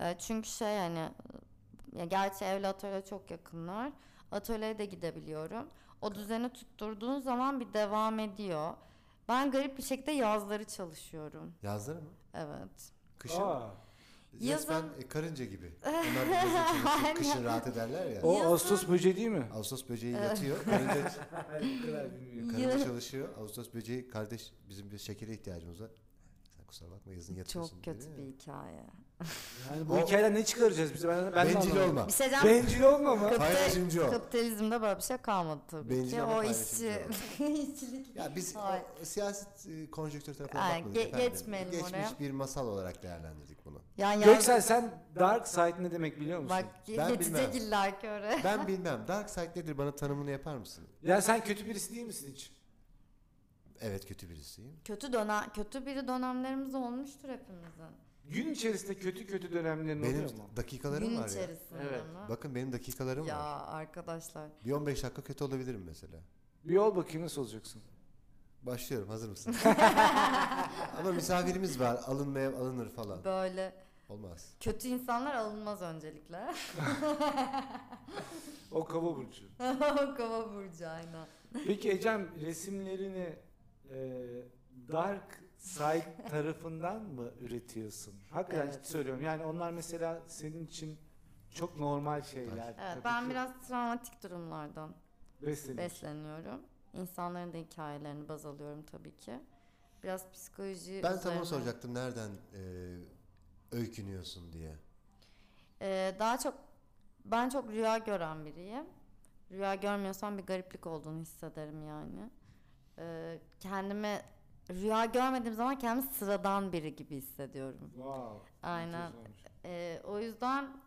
C: E, çünkü şey hani ya gerçi evle atölye çok yakınlar. Atölyeye de gidebiliyorum. O düzeni tutturduğun zaman bir devam ediyor. Ben garip bir şekilde yazları çalışıyorum.
A: Yazları mı?
C: Evet.
A: Kışın?
B: Aa,
A: Resmen
C: Yazın-
A: e, karınca gibi. Onlar bir yazın çalışıp kışın rahat ederler ya.
B: o
C: Yazın-
B: Ağustos böceği değil mi?
A: Ağustos böceği yatıyor. Karınca, karınca
C: Yaz-
A: çalışıyor. Ağustos böceği kardeş bizim bir şekere ihtiyacımız var. Sen kusura bakma yazın yatıyorsun.
C: Çok
A: dedi
C: kötü
A: ya.
C: bir hikaye.
B: Yani bu
A: O-
B: hikayeden ne çıkaracağız biz? Ben, ben de
A: Bencil
B: anlamadım.
A: olma.
C: Bir şey diyeceğim.
B: Bencil olma mı?
C: Kapitalizm-
A: Paylaşımcı ol.
C: Kapitalizmde böyle bir şey kalmadı tabii
A: Bencil
C: ki.
A: ama
C: O
A: paylaşımcı
C: işçi, işçilik.
A: Ya biz
C: Hayır.
A: o siyaset e, konjonktür tarafına
C: Ay,
A: bakmadık
C: ge-
A: efendim.
C: geçmeyelim
A: Geçmiş
C: oraya.
A: bir masal olarak değerlendirdik bunu.
C: Yani yaz-
B: Göksel sen dark side ne demek biliyor musun?
C: bak
A: Ben
C: geçecek
A: bilmem.
C: illa ki oraya.
A: Ben bilmem. Dark Side nedir? Bana tanımını yapar mısın?
B: Ya sen kötü birisi değil misin hiç?
A: Evet kötü birisiyim.
C: Kötü dönem, kötü biri dönemlerimiz olmuştur hepimizin.
B: Gün içerisinde kötü kötü dönemlerin oluyor mu?
A: Benim dakikalarım
C: Gün
A: var ya.
C: içerisinde
B: Evet.
C: mi?
A: Bakın benim dakikalarım
C: ya
A: var.
C: arkadaşlar.
A: Bir 15 dakika kötü olabilirim mesela.
B: Bir yol bakayım nasıl olacaksın?
A: Başlıyorum hazır mısın? Ama misafirimiz var alınmaya alınır falan.
C: Böyle
A: Olmaz.
C: kötü insanlar alınmaz öncelikle.
B: O kova burcu.
C: Kova burcu aynen.
B: Peki Ecem resimlerini e, dark side tarafından mı üretiyorsun? Hakikaten
C: Evet.
B: ciddi söylüyorum. Yani onlar mesela senin için çok normal şeyler. Tabii
C: Evet ben
B: ki.
C: biraz travmatik durumlardan
B: Besleniyorsun.
C: besleniyorum. İnsanların da hikayelerini baz alıyorum tabii ki. Biraz psikoloji
A: Ben tam
C: üzerine-
A: onu soracaktım nereden e, öykünüyorsun diye.
C: Ee, daha çok ben çok rüya gören biriyim. Rüya görmüyorsam bir gariplik olduğunu hissederim yani. Ee, kendimi rüya görmediğim zaman kendimi sıradan biri gibi hissediyorum.
B: Wow.
C: Aynen.
B: muhteşemmiş.
C: Ee, o yüzden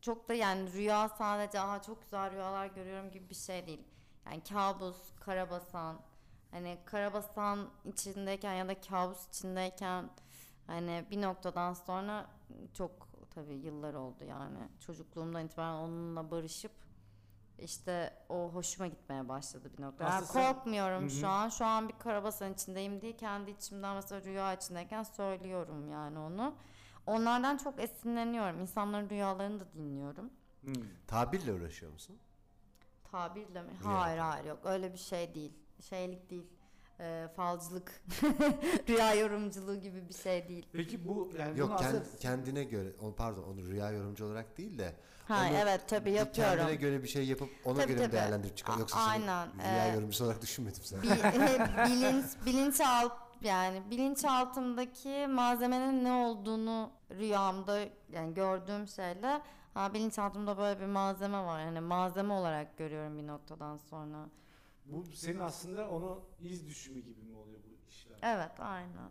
C: çok da yani rüya sadece aha çok güzel rüyalar görüyorum gibi bir şey değil. Yani kabus, karabasan. Hani karabasan içindeyken ya da kabus içindeyken hani bir noktadan sonra çok tabii yıllar oldu yani. Çocukluğumdan itibaren onunla barışıp işte o hoşuma gitmeye başladı bir nokta. Yani
B: Aslında sen-
C: korkmuyorum
B: Hı
C: şu
B: hı.
C: an. Şu an bir karabasan içindeyim diye kendi içimden mesela rüya içindeyken söylüyorum yani onu. Onlardan çok esinleniyorum. İnsanların rüyalarını da dinliyorum.
B: Hmm.
A: Tabirle uğraşıyor musun?
C: Tabirle mi?
A: Rüya
C: Hayır
A: tabiri.
C: hayır yok öyle bir şey değil. Şeylik değil. Ee, falcılık, rüya yorumculuğu gibi bir şey değil.
B: Peki bu yani bunu
A: Yok kend-
B: aslında
A: kendine göre, o, pardon onu rüya yorumcu olarak değil de
C: Ha
A: Onu
C: evet tabii
A: bir
C: yapıyorum.
A: kendine göre bir şey yapıp ona
C: Tabii,
A: göre mi
C: tabii.
A: değerlendirip çıkar.
C: A-
A: Yoksa seni
C: aynen,
A: rüya
C: e-
A: yorumcusu olarak düşünmedim seni.
C: Bi- bilinç hani bilinçalt yani bilinçaltımdaki malzemenin ne olduğunu rüyamda yani gördüğüm şeyle ha bilinçaltımda böyle bir malzeme var. Yani malzeme olarak görüyorum bir noktadan sonra.
B: bu senin aslında onu iz düşümü gibi mi oluyor bu işler?
C: Evet aynen.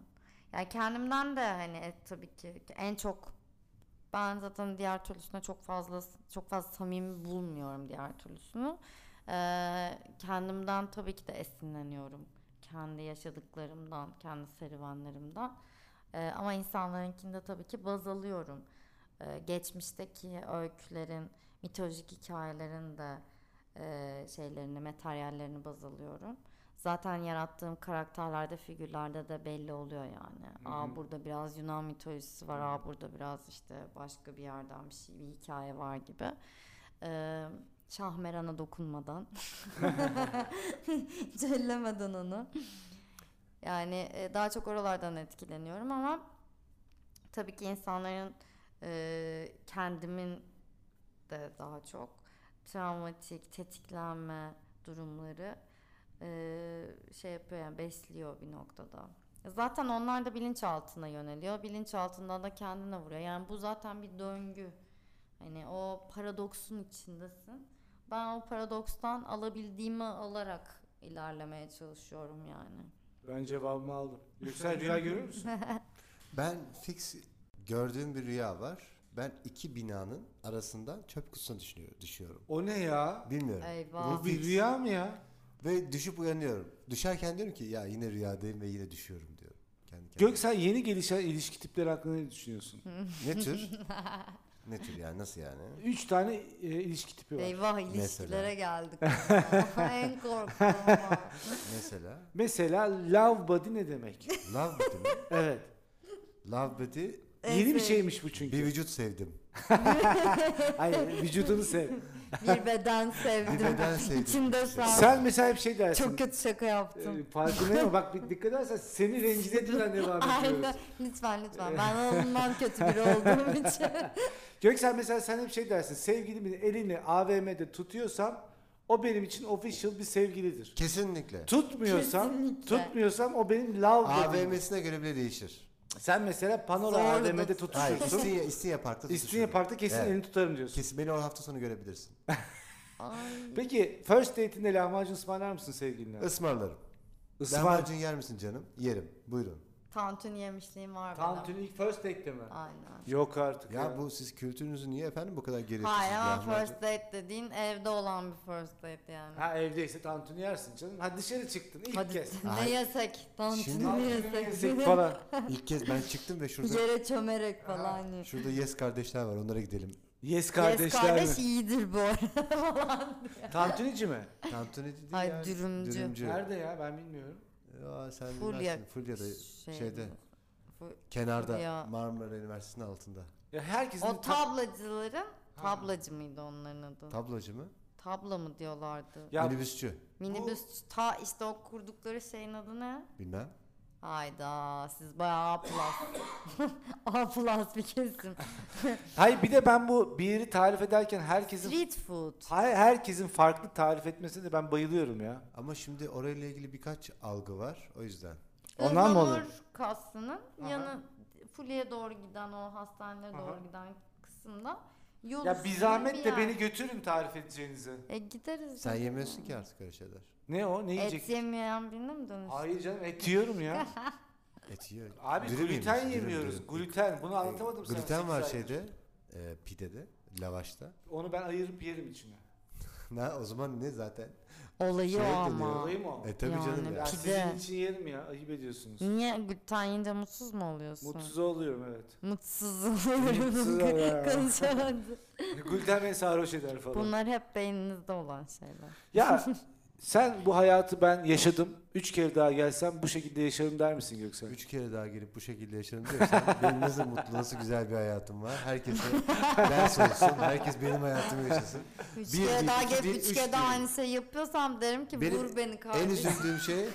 C: Yani kendimden de hani e, tabii ki en çok ben zaten diğer türlüsüne çok fazla çok fazla samimi bulmuyorum diğer türlüsünü. Ee, kendimden tabii ki de esinleniyorum. Kendi yaşadıklarımdan, kendi serüvenlerimden. Ee, ama insanlarınkinde tabii ki baz alıyorum. Ee, geçmişteki öykülerin, mitolojik hikayelerin de e, şeylerini, materyallerini baz alıyorum. Zaten yarattığım karakterlerde, figürlerde de belli oluyor yani.
B: Hı
C: Aa
B: hı.
C: burada biraz Yunan mitolojisi var, aa burada biraz işte başka bir yerden bir şey, bir hikaye var gibi. Ee, Şahmeran'a dokunmadan, cellemeden onu. Yani e, daha çok oralardan etkileniyorum ama tabii ki insanların e, kendimin de daha çok travmatik, tetiklenme durumları e, şey yapıyor yani besliyor bir noktada. Zaten onlar da bilinçaltına yöneliyor. Bilinçaltından da kendine vuruyor. Yani bu zaten bir döngü. Hani o paradoksun içindesin. Ben o paradokstan alabildiğimi alarak ilerlemeye çalışıyorum yani.
B: Ben cevabımı aldım. Yüksel rüya görür müsün?
A: Ben fix gördüğüm bir rüya var. Ben iki binanın arasından çöp kutusuna düşüyor, düşüyorum.
B: O ne ya?
A: Bilmiyorum.
C: Eyvah.
B: Bu bir rüya mı ya?
A: Ve düşüp uyanıyorum. Düşerken diyorum ki ya yine rüyadayım ve yine düşüyorum diyorum. Kendi kendime.
B: Gök sen yeni gelişen ilişki tipleri hakkında ne düşünüyorsun?
A: Ne tür? ne tür yani nasıl yani?
B: Üç tane e, ilişki tipi var.
C: Eyvah
A: Mesela.
C: ilişkilere geldik. en korktuğum an.
A: Mesela
B: Mesela love body ne demek?
A: love body mi?
B: evet.
A: Love body
C: En
B: Yeni bir
C: sevdiğim-
B: şeymiş bu
A: bir
B: çünkü.
A: vücut sevdim.
B: Hayır, vücudunu sev.
C: Bir beden sevdim.
A: Bir beden sevdim.
C: İçimde sağ.
B: Sen mesela hep şey dersin.
C: Çok kötü şaka yaptım.
B: E, Farkındayım ama bak bir dikkat edersen seni rencide etmeden devam
C: Aynen.
B: ediyoruz.
C: Lütfen lütfen. Ben ondan kötü biri olduğum için.
B: Göksel mesela sen hep şey dersin. Sevgilimin elini AVM'de tutuyorsam o benim için official bir sevgilidir.
A: Kesinlikle.
B: Tutmuyorsam,
C: Kesinlikle.
B: tutmuyorsam o benim love AVM.
A: AVM'sine göre bile değişir.
B: Sen mesela Panora
C: Zorla
B: AVM'de
C: tut-
A: Hayır,
B: tutuşursun.
A: İstinye, İstinye Park'ta
B: İstinye
A: tutuşurum.
B: Park'ta kesin
A: Evet.
B: elini tutarım diyorsun.
A: Kesin beni o hafta sonu görebilirsin.
C: Ay.
B: Peki first date'inde lahmacun ısmarlar mısın sevgiline?
A: Ismarlarım.
B: Ismar.
A: Lahmacun yer misin canım? Yerim. Buyurun.
C: Tantuni yemişliğim var benim.
B: Tantuni ilk first date'te mi?
C: Aynen.
B: Yok artık ya.
A: Ya bu siz kültürünüzü niye efendim bu kadar gereksiz?
C: Hayır ama
A: lahmacun-
C: first date dediğin evde olan bir first date yani.
B: Ha evdeyse tantuni yersin canım. Ha dışarı çıktın ilk
C: Hadi
B: kez.
C: ne
A: Ay.
C: yesek?
A: Şimdi-
C: Tantuni
B: Tantuni
C: yesek.
B: yesek falan.
A: İlk kez ben çıktım ve şurada
C: Yere çömerek
B: Aha.
C: falan. Yes
A: şurada yes kardeşler var onlara gidelim.
B: Yes kardeşler
C: kardeş
B: mi?
C: iyidir bu arada falan.
B: Tantunici mi?
A: Tantuni dedi
C: Ay,
A: ya.
C: dürümcü.
B: Nerede ya ben bilmiyorum.
A: Ya sen
C: Fulya-
A: Fulya. Fulya'da
C: Şey-
A: şeyde
C: bu-
A: kenarda
C: Fulya.
A: Marmara Üniversitesi'nin altında.
B: Ya herkesin ta-
C: O tablacıların tablacı mıydı onların adı?
A: Tablacı mı?
C: Tabla mı diyorlardı?
B: Ya
A: Minibüsçü.
C: Minibüs ta işte o kurdukları şeyin adı ne?
A: Bilmem.
C: Hayda siz bayağı A plus. A plus bir kesim.
B: hayır bir de ben bu bir yeri tarif ederken herkesin
C: Street food.
B: Hayır, herkesin farklı tarif etmesine de ben bayılıyorum ya.
A: Ama şimdi orayla ilgili birkaç algı var. O yüzden.
B: Ondan mı olur?
C: Ihlamur kasının
B: Aha.
C: yanı Fulya'ya doğru giden o hastanelere
B: Aha.
C: doğru giden kısımda yol
B: Ya
C: üstünde
B: bir zahmet de
C: yer.
B: beni götürün tarif edeceğinize.
C: E gideriz.
A: Sen
C: canım.
A: yemiyorsun ki artık öyle şeyler.
B: Ne o? Ne
C: Et
B: yiyecek?
C: yemeyen birine mi dönüş?
B: Hayır canım et yiyorum ya.
A: Et yiyor.
B: Abi
A: Dürüm
B: gluten
A: yemiş, dürüm,
B: yemiyoruz.
A: dürüm.
B: Gluten. Bunu anlatamadım sana.
A: Gluten
B: sekiz
A: var
B: aydır.
A: şeyde. E, pidede. Lavaşta.
B: Onu ben ayırıp yerim içine.
A: Ne o zaman ne zaten?
C: Olayı
A: Şey
C: o
A: dönüyor,
C: ama.
B: Olayım o.
A: E tabii
C: Yani
A: canım ya.
B: Ya
C: Pide.
B: sizin için yerim ya. Ayıp ediyorsunuz.
C: Niye gluten yiyince mutsuz mu oluyorsun?
B: Mutsuz oluyorum evet.
C: Mutsuz
B: Mutsuz oluyorum.
C: Konuşamadım.
B: Gluten beni sarhoş eder falan.
C: Bunlar hep beyninizde olan şeyler.
B: Ya sen bu hayatı ben yaşadım. Üç kere daha gelsem bu şekilde yaşarım der misin Göksel?
A: Üç kere daha gelip bu şekilde yaşarım diyorsan benim nasıl mutlu nasıl güzel bir hayatım var. Herkese ders olsun. Herkes benim hayatımı yaşasın.
C: Üç
A: Bir
C: kere
A: değil,
C: daha
A: iki
C: gelip
A: değil,
C: üç,
A: üç
C: kere daha
A: değil.
C: aynı şeyi yapıyorsam derim ki
A: Benim
C: vur beni
A: En
C: kardeşim.
A: üzüldüğüm şey,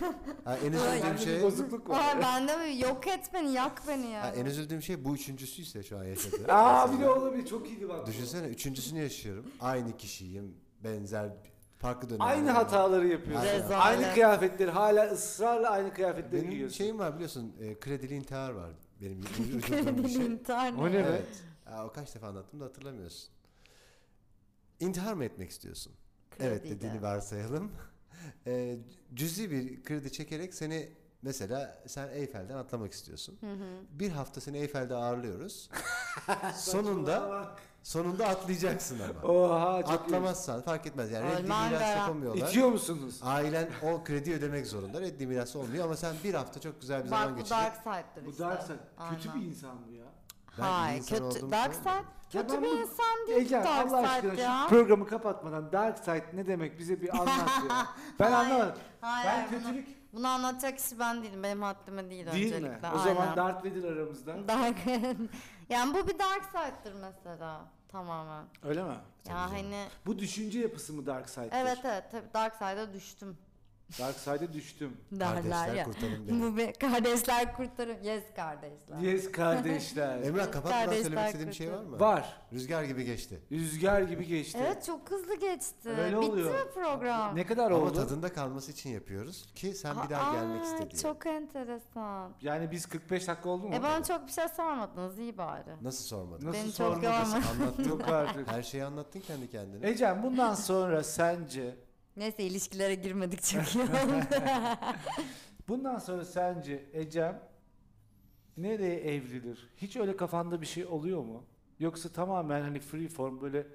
A: ha, en
C: Ay.
A: üzüldüğüm
B: Bende bir
A: şey,
B: bozukluk
C: Ay
B: var.
C: bende mi? Yok et beni, yak beni ya.
A: ha, en üzüldüğüm şey bu üçüncüsüyse şu an yaşadığım.
B: Aa bir de olabilir çok iyiydi bak. bu.
A: Düşünsene üçüncüsünü yaşıyorum. Aynı kişiyim. Benzer farklı dönem.
B: Aynı hataları
A: Rezalet.
B: yapıyorsun. Aynı kıyafetleri hala ısrarla aynı kıyafetleri
A: Benim
B: giyiyorsun.
A: şeyim var biliyorsun. E, kredili intihar var. Benim üzüldüğüm bir
C: Kredili
A: şey.
C: intihar
B: O ne be?
A: Evet. Aa, o kaç defa anlattım da hatırlamıyorsun. İntihar mı etmek istiyorsun? Evet
C: Kredide.
A: dediğini varsayalım. Ee, cüzi bir kredi çekerek seni mesela sen Eyfel'den atlamak istiyorsun.
C: Hı hı.
A: Bir hafta seni Eyfel'de ağırlıyoruz. sonunda sonunda atlayacaksın ama.
B: Oha çok
A: Atlamazsan fark etmez yani reddi
C: Ölmen
A: miras
B: iyi.
C: garanti.
A: yapamıyorlar.
B: İtiyor musunuz?
A: Ailen o krediyi ödemek zorunda. Reddi mirası olmuyor ama sen bir hafta çok güzel bir zaman
C: Bak bu
A: geçirip
C: Dark Side'dır işte.
B: Bu dersen kötü
C: Aynen.
B: bir insan bu ya.
A: Ben iyi
C: Hayır,
A: insan
C: kötü.
A: olduğumu
C: Dark Side
A: sanmıyorum.
C: kötü
B: ben
C: bir
B: bu-
C: insan değil
B: Ece
C: Dark
B: Allah
C: Side
B: aşkına
C: ya.
B: şu programı kapatmadan Dark Side ne demek bize bir anlat ya. Ben
C: Hayır.
B: anlamadım.
C: Hayır,
B: Ben
C: hayır, bunu-
B: kötülük
C: Bunu anlatacak kişi ben değilim. Benim haddime değil,
B: değil mi?
C: öncelikle.
B: O zaman
C: Aynen.
B: Darth Vader aramızda.
C: Dark. yani bu bir dark side'dır mesela tamamen.
B: Öyle mi?
C: ya
A: canım.
C: hani
B: Bu düşünce yapısı mı Dark Side'dir?
C: evet evet tabii dark side'a düştüm
B: Dark Side'e düştüm.
C: derler
A: Kardeşler
C: ya.
A: kurtarın beni.
C: Bu bir kardeşler kurtarır. Yes kardeşler.
B: Yes kardeşler.
A: Emrah kapatmadan
C: Kardeşler
A: söylemek istediğim bir şey var
C: kurtarın.
A: mı?
B: Var.
A: Rüzgar gibi geçti.
B: Rüzgar gibi geçti.
C: Evet çok hızlı geçti.
B: Öyle
C: Bitti
B: oluyor.
C: mi program?
B: Ne kadar
A: Ama
B: oldu?
A: tadında kalması için yapıyoruz ki sen bir daha
C: Aa,
A: gelmek istediğin.
C: Çok enteresan.
B: Yani biz 45 dakika oldu mu?
C: E bana çok bir şey sormadınız iyi bari.
A: Nasıl sormadın?
B: Nasıl
C: Beni çok
B: sormadın?
C: yorma.
A: Anlattın.
B: Yok artık.
A: Her şeyi anlattın kendi kendine.
B: Ecem bundan sonra sence
C: Neyse ilişkilere girmedik çok iyi oldu.
B: bundan sonra sence Ecem nereye evrilir? Hiç öyle kafanda bir şey oluyor mu? Yoksa tamamen hani free form böyle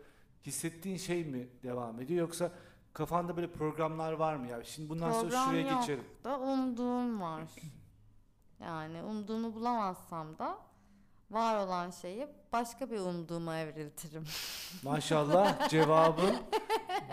B: hissettiğin şey mi devam ediyor? Yoksa kafanda böyle programlar var mı ya? Şimdi bundan sonra
C: Program
B: şuraya
C: yok.
B: geçerim.
C: da umduğum var. Yani umduğumu bulamazsam da var olan şeyi başka bir umduğuma evriltirim.
B: Maşallah cevabın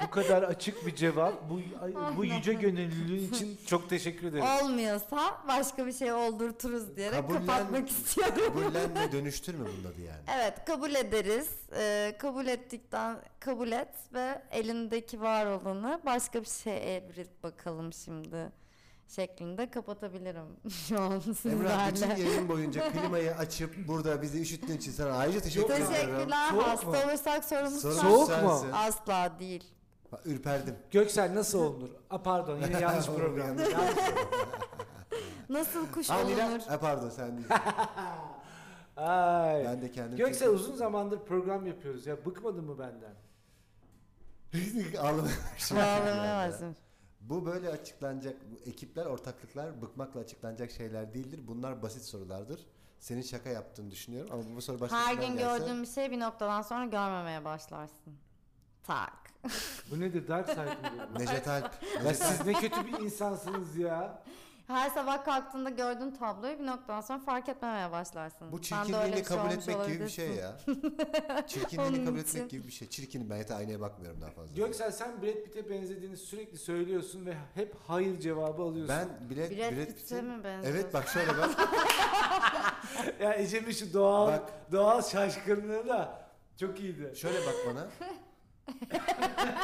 B: bu kadar açık bir cevap. Bu
C: Ah,
B: bu yüce gönüllülüğün için çok teşekkür ederim.
C: Olmuyorsa başka bir şey oldurturuz diyerek
A: Kabullen-
C: kapatmak istiyorum.
A: Kabullenme dönüştürme bunun adı yani.
C: Evet kabul ederiz. Ee, kabul ettikten kabul et ve elindeki var olanı başka bir şeye evrilt bakalım şimdi şeklinde kapatabilirim şu an
A: Emrah bütün
C: sizlerle.
A: yayın boyunca klimayı açıp burada bizi üşüttüğün için sana ayrıca teşekkür ederim.
C: Teşekkürler.
B: Soğuk mu?
C: Hasta olursak sorumuz
A: Sorun
B: Soğuk mu?
A: sensin.
C: Asla değil.
A: Bak, Ürperdim.
B: Göksel nasıl olunur? A pardon yine yanlış program.
A: Yanlış program.
C: Nasıl kuş
A: Ha, Nilay-
C: olunur?
A: Ha, pardon sen değil.
B: Ay.
A: Ben de kendim.
B: Göksel uzun zamandır program yapıyoruz ya. Bıkmadın mı benden?
A: Ağlamaya başladım.
C: Ağlamamazım.
A: Bu böyle açıklanacak, bu ekipler, ortaklıklar bıkmakla açıklanacak şeyler değildir. Bunlar basit sorulardır. Senin şaka yaptığını düşünüyorum ama bu soru başka
C: Her
A: kimden
C: gün
A: gelse-
C: gördüğün bir şey bir noktadan sonra görmemeye başlarsın. Tak.
B: Bu nedir Dark Side mi? bu?
A: Necdet Alp.
B: Ya
A: Necdet Alp.
B: siz ne kötü bir insansınız ya.
C: Her sabah kalktığında gördüğün tabloyu bir noktadan sonra fark etmemeye başlarsın.
A: Bu
C: Ben de öyle
A: çirkinliğini
C: bir şey
A: kabul
C: olmuş
A: etmek gibi bir şey
C: olabilirsin.
A: ya. Çirkinliğini
C: Onun
A: kabul
C: için.
A: etmek gibi bir şey. Çirkinim ben yeter aynaya bakmıyorum daha fazla.
B: Göksel sen Brad Pitt'e benzediğini sürekli söylüyorsun ve hep hayır cevabı alıyorsun.
A: ben Brad,
C: Brad
A: Brad
C: Pitt'e
A: Pitt'e
C: mi benziyor?
A: Evet bak şöyle bak.
B: Ya Ecem'in şu doğal,
A: Bak.
B: doğal şaşkınlığı da çok iyiydi.
A: Şöyle bak bana.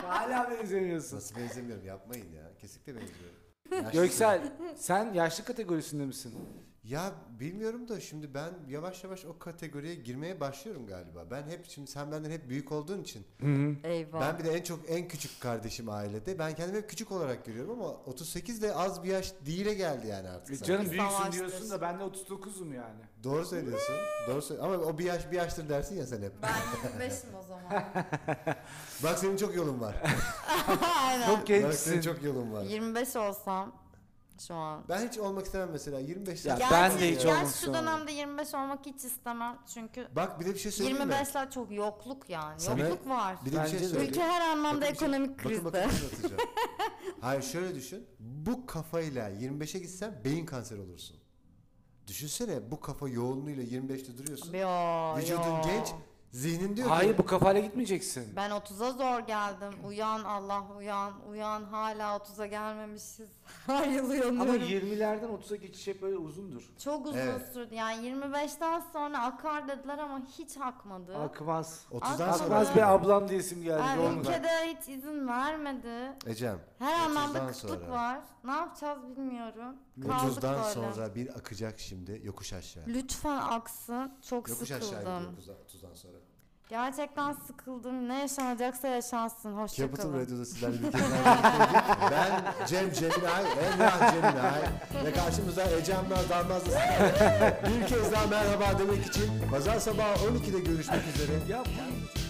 B: Hala benzemiyorsun.
A: Nasıl benzemiyorum yapmayın ya. Kesinlikle benziyorum. Yaşlı
B: Göksel sen yaşlı kategorisinde misin?
A: Ya bilmiyorum da şimdi ben yavaş yavaş o kategoriye girmeye başlıyorum galiba. Ben hep şimdi sen benden hep büyük olduğun için.
C: Eyvah.
A: Ben bir de en çok en küçük kardeşim ailede. Ben kendimi hep küçük olarak görüyorum ama 38 de az bir yaş değile geldi yani artık.
B: E
A: sana.
B: Canım büyüksün
C: Savaştır.
B: diyorsun da ben de 39'um yani.
A: Doğru söylüyorsun. Doğru söyle- Ama o bir yaş bir yaştır dersin ya sen hep.
C: Ben 25'im o zaman.
A: Bak senin çok yolun var.
C: Aynen.
B: Çok
A: Bak senin
B: gençsin.
A: çok yolun var.
C: 25 olsam şu an.
A: Ben hiç olmak istemem mesela 25
B: Ya
A: yaş.
B: ben de hiç
C: gerçi
B: olmak
C: şu
B: istemem.
C: dönemde 25 olmak hiç istemem çünkü
A: Bak bir de bir şey söyleyeyim mi?
C: 25'ler çok yokluk yani.
A: Sana-
C: yokluk var.
A: Bir de bir
B: Bence
A: şey
B: de.
A: söyleyeyim.
C: Ülke her anlamda
A: Bakın bir şey-
C: ekonomik krizde.
A: Bakın bakın nasıl atacağım. Hayır şöyle düşün. Bu kafayla 25'e gitsen beyin kanseri olursun. Düşünsene bu kafa yoğunluğuyla 25'te duruyorsun.
C: Yo,
A: Vücudun
C: yo.
A: genç, zihnin diyor
B: Hayır
A: ki
B: bu kafayla gitmeyeceksin.
C: Ben 30'a zor geldim. Uyan Allah uyan. Uyan hala 30'a gelmemişiz. Her yıl
B: Ama
C: uyanıyorum.
B: 20'lerden 30'a geçiş hep böyle uzundur.
C: Çok uzun
A: Evet.
C: sürdü. Yani 25'ten sonra akar dediler ama hiç akmadı.
B: Akmaz.
A: 30'dan
C: Akmaz
A: sonra.
B: Akmaz be ablam diyesim geldi.
C: Yani
B: Doğru mu?
C: ülkede hiç izin vermedi.
A: Ecem.
C: Her
A: 30'dan
C: anlamda kıtlık
A: sonra.
C: var. Ne yapacağız bilmiyorum. Kaldık
A: 30'dan
C: böyle.
A: sonra bir akacak şimdi yokuş aşağı.
C: Lütfen aksın. Çok
A: Yokuş aşağı
C: sıkıldım.
A: gidiyor 30'dan sonra.
C: Gerçekten sıkıldım. Ne yaşanacaksa yaşansın.
A: Capital
C: Hoşçakalın.
A: Radyo'da sizlerle bir kez daha birlikteydik. Ben Cem Ceminay, Emrah Ceminay ve karşımızda Ecem Naz Dalmaz'la sizlerle bir kez daha merhaba demek için pazar sabahı 12'de görüşmek üzere.
B: Ya bu-